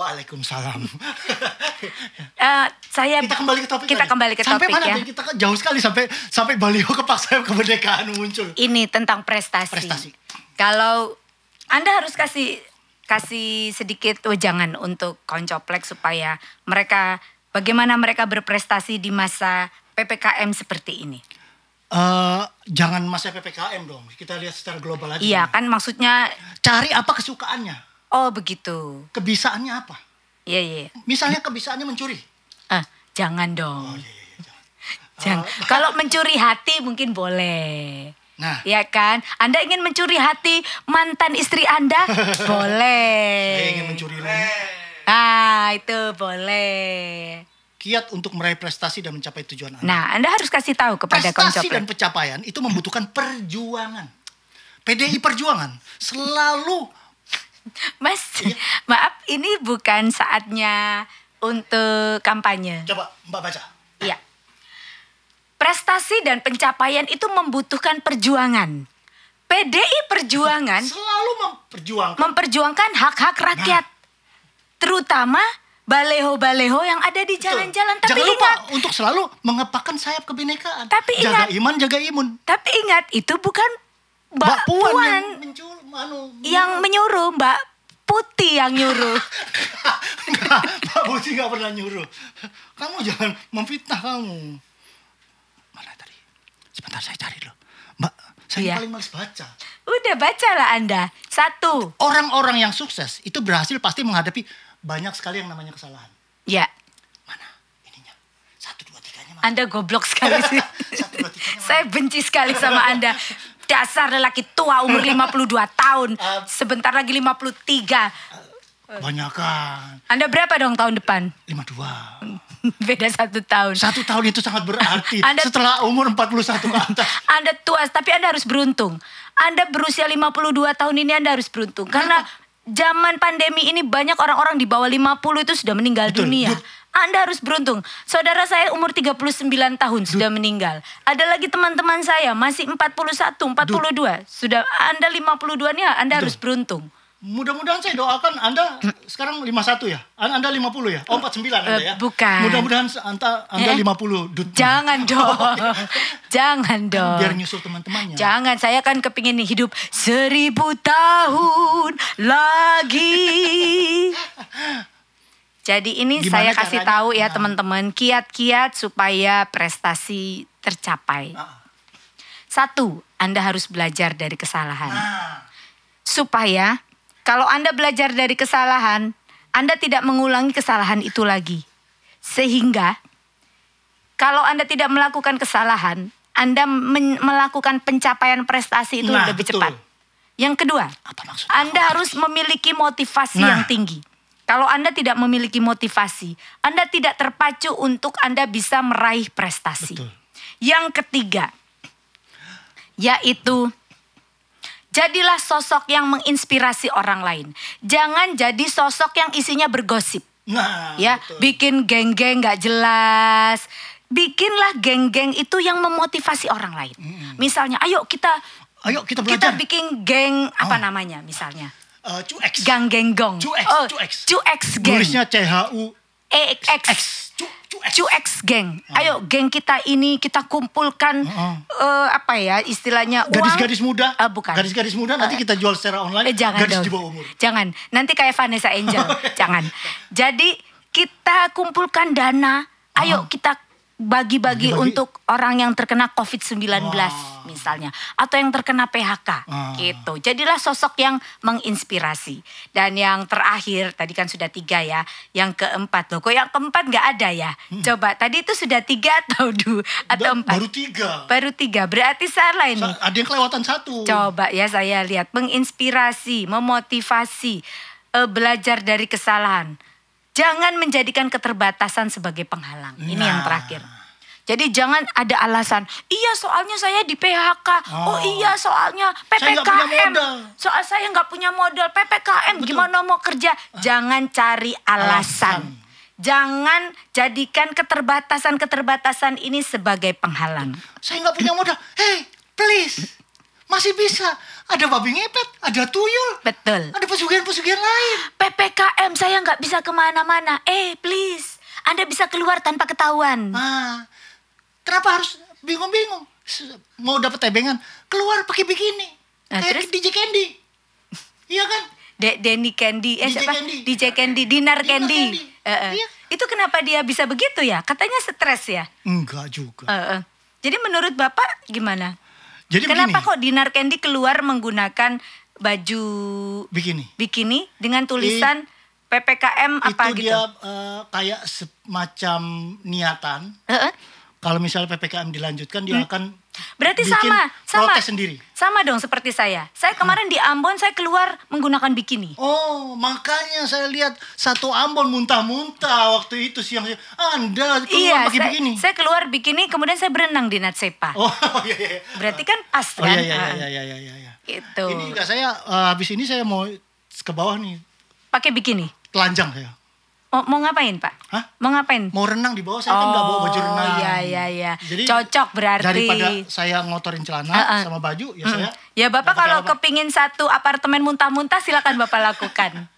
Speaker 1: Waalaikumsalam.
Speaker 2: Eh, saya
Speaker 1: kita kembali ke topik.
Speaker 2: Kita
Speaker 1: tadi.
Speaker 2: kembali ke
Speaker 1: sampai
Speaker 2: topik
Speaker 1: mana,
Speaker 2: ya.
Speaker 1: Be? Kita kan jauh sekali sampai sampai baliho kepaksa kemerdekaan muncul.
Speaker 2: Ini tentang prestasi.
Speaker 1: Prestasi.
Speaker 2: Kalau Anda harus kasih kasih sedikit wejangan untuk koncoplek supaya mereka bagaimana mereka berprestasi di masa PPKM seperti ini.
Speaker 1: Eh, jangan masa PPKM dong. Kita lihat secara global aja.
Speaker 2: Iya kan maksudnya
Speaker 1: Cari apa kesukaannya?
Speaker 2: oh begitu.
Speaker 1: Kebisaannya apa?
Speaker 2: Iya iya.
Speaker 1: Misalnya kebisaannya mencuri.
Speaker 2: Ah, jangan dong.
Speaker 1: Oh, iya,
Speaker 2: Jangan.
Speaker 1: Ah.
Speaker 2: Kalau mencuri hati mungkin boleh.
Speaker 1: Nah.
Speaker 2: Ya kan? Anda ingin mencuri hati mantan istri Anda? boleh.
Speaker 1: Saya ingin mencuri rumah.
Speaker 2: Ah, itu boleh.
Speaker 1: Kiat untuk meraih prestasi dan mencapai tujuan Anda.
Speaker 2: Nah, Anda harus kasih tahu kepada
Speaker 1: prestasi dan
Speaker 2: koncoplek.
Speaker 1: pencapaian itu membutuhkan perjuangan. PDI Perjuangan selalu
Speaker 2: Mas,
Speaker 1: Iya.
Speaker 2: maaf ini bukan saatnya untuk kampanye.
Speaker 1: coba Mbak baca.
Speaker 2: Iya. Prestasi dan pencapaian itu membutuhkan perjuangan. PDI Perjuangan
Speaker 1: Selalu memperjuangkan
Speaker 2: memperjuangkan hak-hak rakyat.
Speaker 1: Nah.
Speaker 2: Terutama baleho-baleho yang ada di jalan-jalan. Tapi
Speaker 1: Jangan lupa
Speaker 2: ingat,
Speaker 1: untuk selalu mengepakkan sayap kebinekaan.
Speaker 2: Tapi
Speaker 1: jaga
Speaker 2: ingat-
Speaker 1: iman, jaga imun.
Speaker 2: tapi ingat itu bukan Mbak,
Speaker 1: Mbak Puan,
Speaker 2: Puan
Speaker 1: yang mencur, anu,
Speaker 2: yang menyuruh, Mbak Putih yang nyuruh.
Speaker 1: Enggak, Mbak Putih nggak pernah nyuruh. Kamu jangan memfitnah kamu. Mana tadi? Sebentar saya cari dulu. Mbak, saya
Speaker 2: Iya.
Speaker 1: paling males baca.
Speaker 2: Udah bacalah Anda. Satu.
Speaker 1: Orang-orang yang sukses itu berhasil pasti menghadapi banyak sekali yang namanya kesalahan.
Speaker 2: Ya,
Speaker 1: Mana ininya? Satu dua tiganya mana?
Speaker 2: Anda goblok sekali sih.
Speaker 1: Satu dua tiganya mana?
Speaker 2: Saya benci sekali sama Anda. Dasar lelaki tua umur 52 tahun.
Speaker 1: Um.
Speaker 2: Sebentar lagi 53.
Speaker 1: Kebanyakan.
Speaker 2: Anda berapa dong tahun depan?
Speaker 1: Lima dua.
Speaker 2: Beda satu tahun.
Speaker 1: Satu tahun itu sangat berarti.
Speaker 2: Anda-
Speaker 1: Setelah umur 41 ke atas.
Speaker 2: Anda tua, tapi Anda harus beruntung. Anda berusia 52 tahun ini Anda harus beruntung. Karena zaman pandemi ini banyak orang-orang di bawah 50 itu sudah meninggal
Speaker 1: Betul,
Speaker 2: dunia.
Speaker 1: Dut.
Speaker 2: Anda harus beruntung. Saudara saya umur 39 tahun sudah meninggal. Ada lagi teman-teman saya masih 41, 42. Sudah Anda 52 nya Anda harus beruntung.
Speaker 1: Mudah-mudahan saya doakan Anda sekarang 51 ya? An- Anda 50 ya? Oh 49 Anda ya?
Speaker 2: Eh, bukan.
Speaker 1: Mudah-mudahan se- anta,
Speaker 2: Eh,
Speaker 1: Anda
Speaker 2: eh.
Speaker 1: 50. Dut.
Speaker 2: Jangan dong. Jangan dong.
Speaker 1: Biar nyusul teman-temannya.
Speaker 2: Jangan, saya kan kepingin nih hidup seribu tahun lagi. Jadi ini
Speaker 1: Gimana
Speaker 2: saya kasih
Speaker 1: caranya?
Speaker 2: tahu ya
Speaker 1: Nah.
Speaker 2: teman-teman kiat-kiat supaya prestasi tercapai.
Speaker 1: Ah.
Speaker 2: Satu, Anda harus belajar dari kesalahan.
Speaker 1: Nah,
Speaker 2: Supaya kalau Anda belajar dari kesalahan, Anda tidak mengulangi kesalahan itu lagi. Sehingga kalau Anda tidak melakukan kesalahan, Anda men- melakukan pencapaian prestasi itu
Speaker 1: Nah,
Speaker 2: lebih
Speaker 1: betul.
Speaker 2: cepat. Yang kedua,
Speaker 1: apa maksudnya?
Speaker 2: Anda harus memiliki motivasi
Speaker 1: Nah.
Speaker 2: yang tinggi. Kalau Anda tidak memiliki motivasi, Anda tidak terpacu untuk Anda bisa meraih prestasi.
Speaker 1: Betul.
Speaker 2: Yang ketiga, yaitu jadilah sosok yang menginspirasi orang lain. Jangan jadi sosok yang isinya bergosip
Speaker 1: Nah,
Speaker 2: ya
Speaker 1: betul.
Speaker 2: bikin geng-geng nggak jelas bikinlah geng-geng itu yang memotivasi orang lain misalnya ayo kita
Speaker 1: Ayo kita
Speaker 2: kita
Speaker 1: belajar. Oh.
Speaker 2: bikin geng apa namanya misalnya
Speaker 1: Eh, cuex.
Speaker 2: gang genggong
Speaker 1: Cuex,
Speaker 2: oh,
Speaker 1: cuex.
Speaker 2: cuex geng
Speaker 1: Tulisnya C-H-U.
Speaker 2: E-
Speaker 1: X. Ah.
Speaker 2: X
Speaker 1: Cu, cuex.
Speaker 2: cuex geng ayo geng kita ini kita kumpulkan
Speaker 1: Mm-mm.
Speaker 2: eh, apa ya istilahnya uang-
Speaker 1: Ah, Gadis-gadis muda.
Speaker 2: Eh, bukan
Speaker 1: Gadis-gadis muda nanti kita jual secara online.
Speaker 2: Eh, jangan
Speaker 1: Gadis
Speaker 2: dong.
Speaker 1: di bawah umur.
Speaker 2: Jangan. Nanti kayak Vanessa Angel. jangan. Jadi kita kumpulkan dana. Ayo kita bagi-bagi
Speaker 1: Ah. Bagi-bagi.
Speaker 2: untuk orang yang terkena COVID-19
Speaker 1: Wah.
Speaker 2: misalnya atau yang terkena PHK
Speaker 1: Ah.
Speaker 2: gitu. Jadilah sosok yang menginspirasi. Dan yang terakhir tadi kan sudah tiga ya, yang keempat loh. Kok yang keempat nggak ada ya? Coba tadi itu sudah tiga atau dua atau
Speaker 1: Ba-
Speaker 2: empat?
Speaker 1: Hmm. Baru tiga.
Speaker 2: Baru tiga. Berarti salah ini.
Speaker 1: Sa- Ada yang kelewatan satu.
Speaker 2: Coba ya saya lihat menginspirasi, memotivasi, eh, belajar dari kesalahan. Jangan menjadikan keterbatasan sebagai penghalang. Ini yang
Speaker 1: Nah.
Speaker 2: terakhir. Jadi jangan ada alasan, iya soalnya saya di PHK, oh,
Speaker 1: Oh.
Speaker 2: iya soalnya
Speaker 1: Saya nggak punya
Speaker 2: PPKM,
Speaker 1: modal.
Speaker 2: soal saya nggak punya modal, PPKM gimana mau kerja?
Speaker 1: Ah.
Speaker 2: Jangan cari alasan. Jangan jadikan keterbatasan-keterbatasan ini sebagai penghalang.
Speaker 1: Saya nggak punya modal. Hey, please. Masih bisa. Ada babi ngepet, ada tuyul,
Speaker 2: Betul.
Speaker 1: ada pesugihan-pesugihan lain.
Speaker 2: PPKM saya nggak bisa kemana-mana. Eh, please. Anda bisa keluar tanpa ketahuan.
Speaker 1: Ah, kenapa harus bingung-bingung? S- Mau dapat tebengan, keluar pakai bikini.
Speaker 2: Nah,
Speaker 1: Kayak
Speaker 2: terus?
Speaker 1: DJ Candy. Iya kan?
Speaker 2: De Denny Candy, eh
Speaker 1: DJ
Speaker 2: siapa?
Speaker 1: Candy.
Speaker 2: DJ Candy, Dinar
Speaker 1: Dinar
Speaker 2: Candy.
Speaker 1: Candy.
Speaker 2: Eh, eh.
Speaker 1: Iya.
Speaker 2: Itu kenapa dia bisa begitu ya? Katanya stres ya.
Speaker 1: Enggak juga.
Speaker 2: Eh, eh. Jadi menurut Bapak gimana?
Speaker 1: Jadi
Speaker 2: Kenapa
Speaker 1: begini.
Speaker 2: kok Dinar Candy keluar menggunakan baju
Speaker 1: Bikini.
Speaker 2: bikini dengan tulisan PPKM apa
Speaker 1: itu
Speaker 2: gitu?
Speaker 1: dia eh, kayak semacam niatan.
Speaker 2: Eh, eh.
Speaker 1: Kalau misalnya PPKM dilanjutkan, dia akan
Speaker 2: Hmm. Berarti
Speaker 1: bikin
Speaker 2: sama, sama.
Speaker 1: protes sendiri.
Speaker 2: Sama dong seperti saya. Saya kemarin di Ambon saya keluar menggunakan bikini.
Speaker 1: Oh, makanya saya lihat satu Ambon muntah-muntah waktu itu siang-siang. Anda keluar
Speaker 2: Iya,
Speaker 1: pakai
Speaker 2: saya,
Speaker 1: bikini.
Speaker 2: saya keluar bikini, kemudian saya berenang di Natsepa.
Speaker 1: Oh, iya iya. iya.
Speaker 2: Berarti kan pas
Speaker 1: Oh
Speaker 2: kan?
Speaker 1: iya iya
Speaker 2: Ah,
Speaker 1: iya iya iya iya. iya.
Speaker 2: Gitu.
Speaker 1: Ini juga saya eh, habis ini saya mau ke bawah nih,
Speaker 2: Pakai bikini.
Speaker 1: telanjang saya.
Speaker 2: Mau, mau ngapain Pak?
Speaker 1: Hah?
Speaker 2: Mau ngapain?
Speaker 1: Mau renang di bawah saya kan nggak bawa baju
Speaker 2: Hmm. Oh,
Speaker 1: renang.
Speaker 2: iya, iya, iya. Cocok berarti.
Speaker 1: Daripada saya ngotorin celana
Speaker 2: Ah, ah.
Speaker 1: sama baju, ya
Speaker 2: Hmm.
Speaker 1: saya.
Speaker 2: Ya Bapak
Speaker 1: nggak pakai
Speaker 2: kalau
Speaker 1: apa-apa.
Speaker 2: kepingin satu apartemen muntah-muntah silakan Bapak lakukan.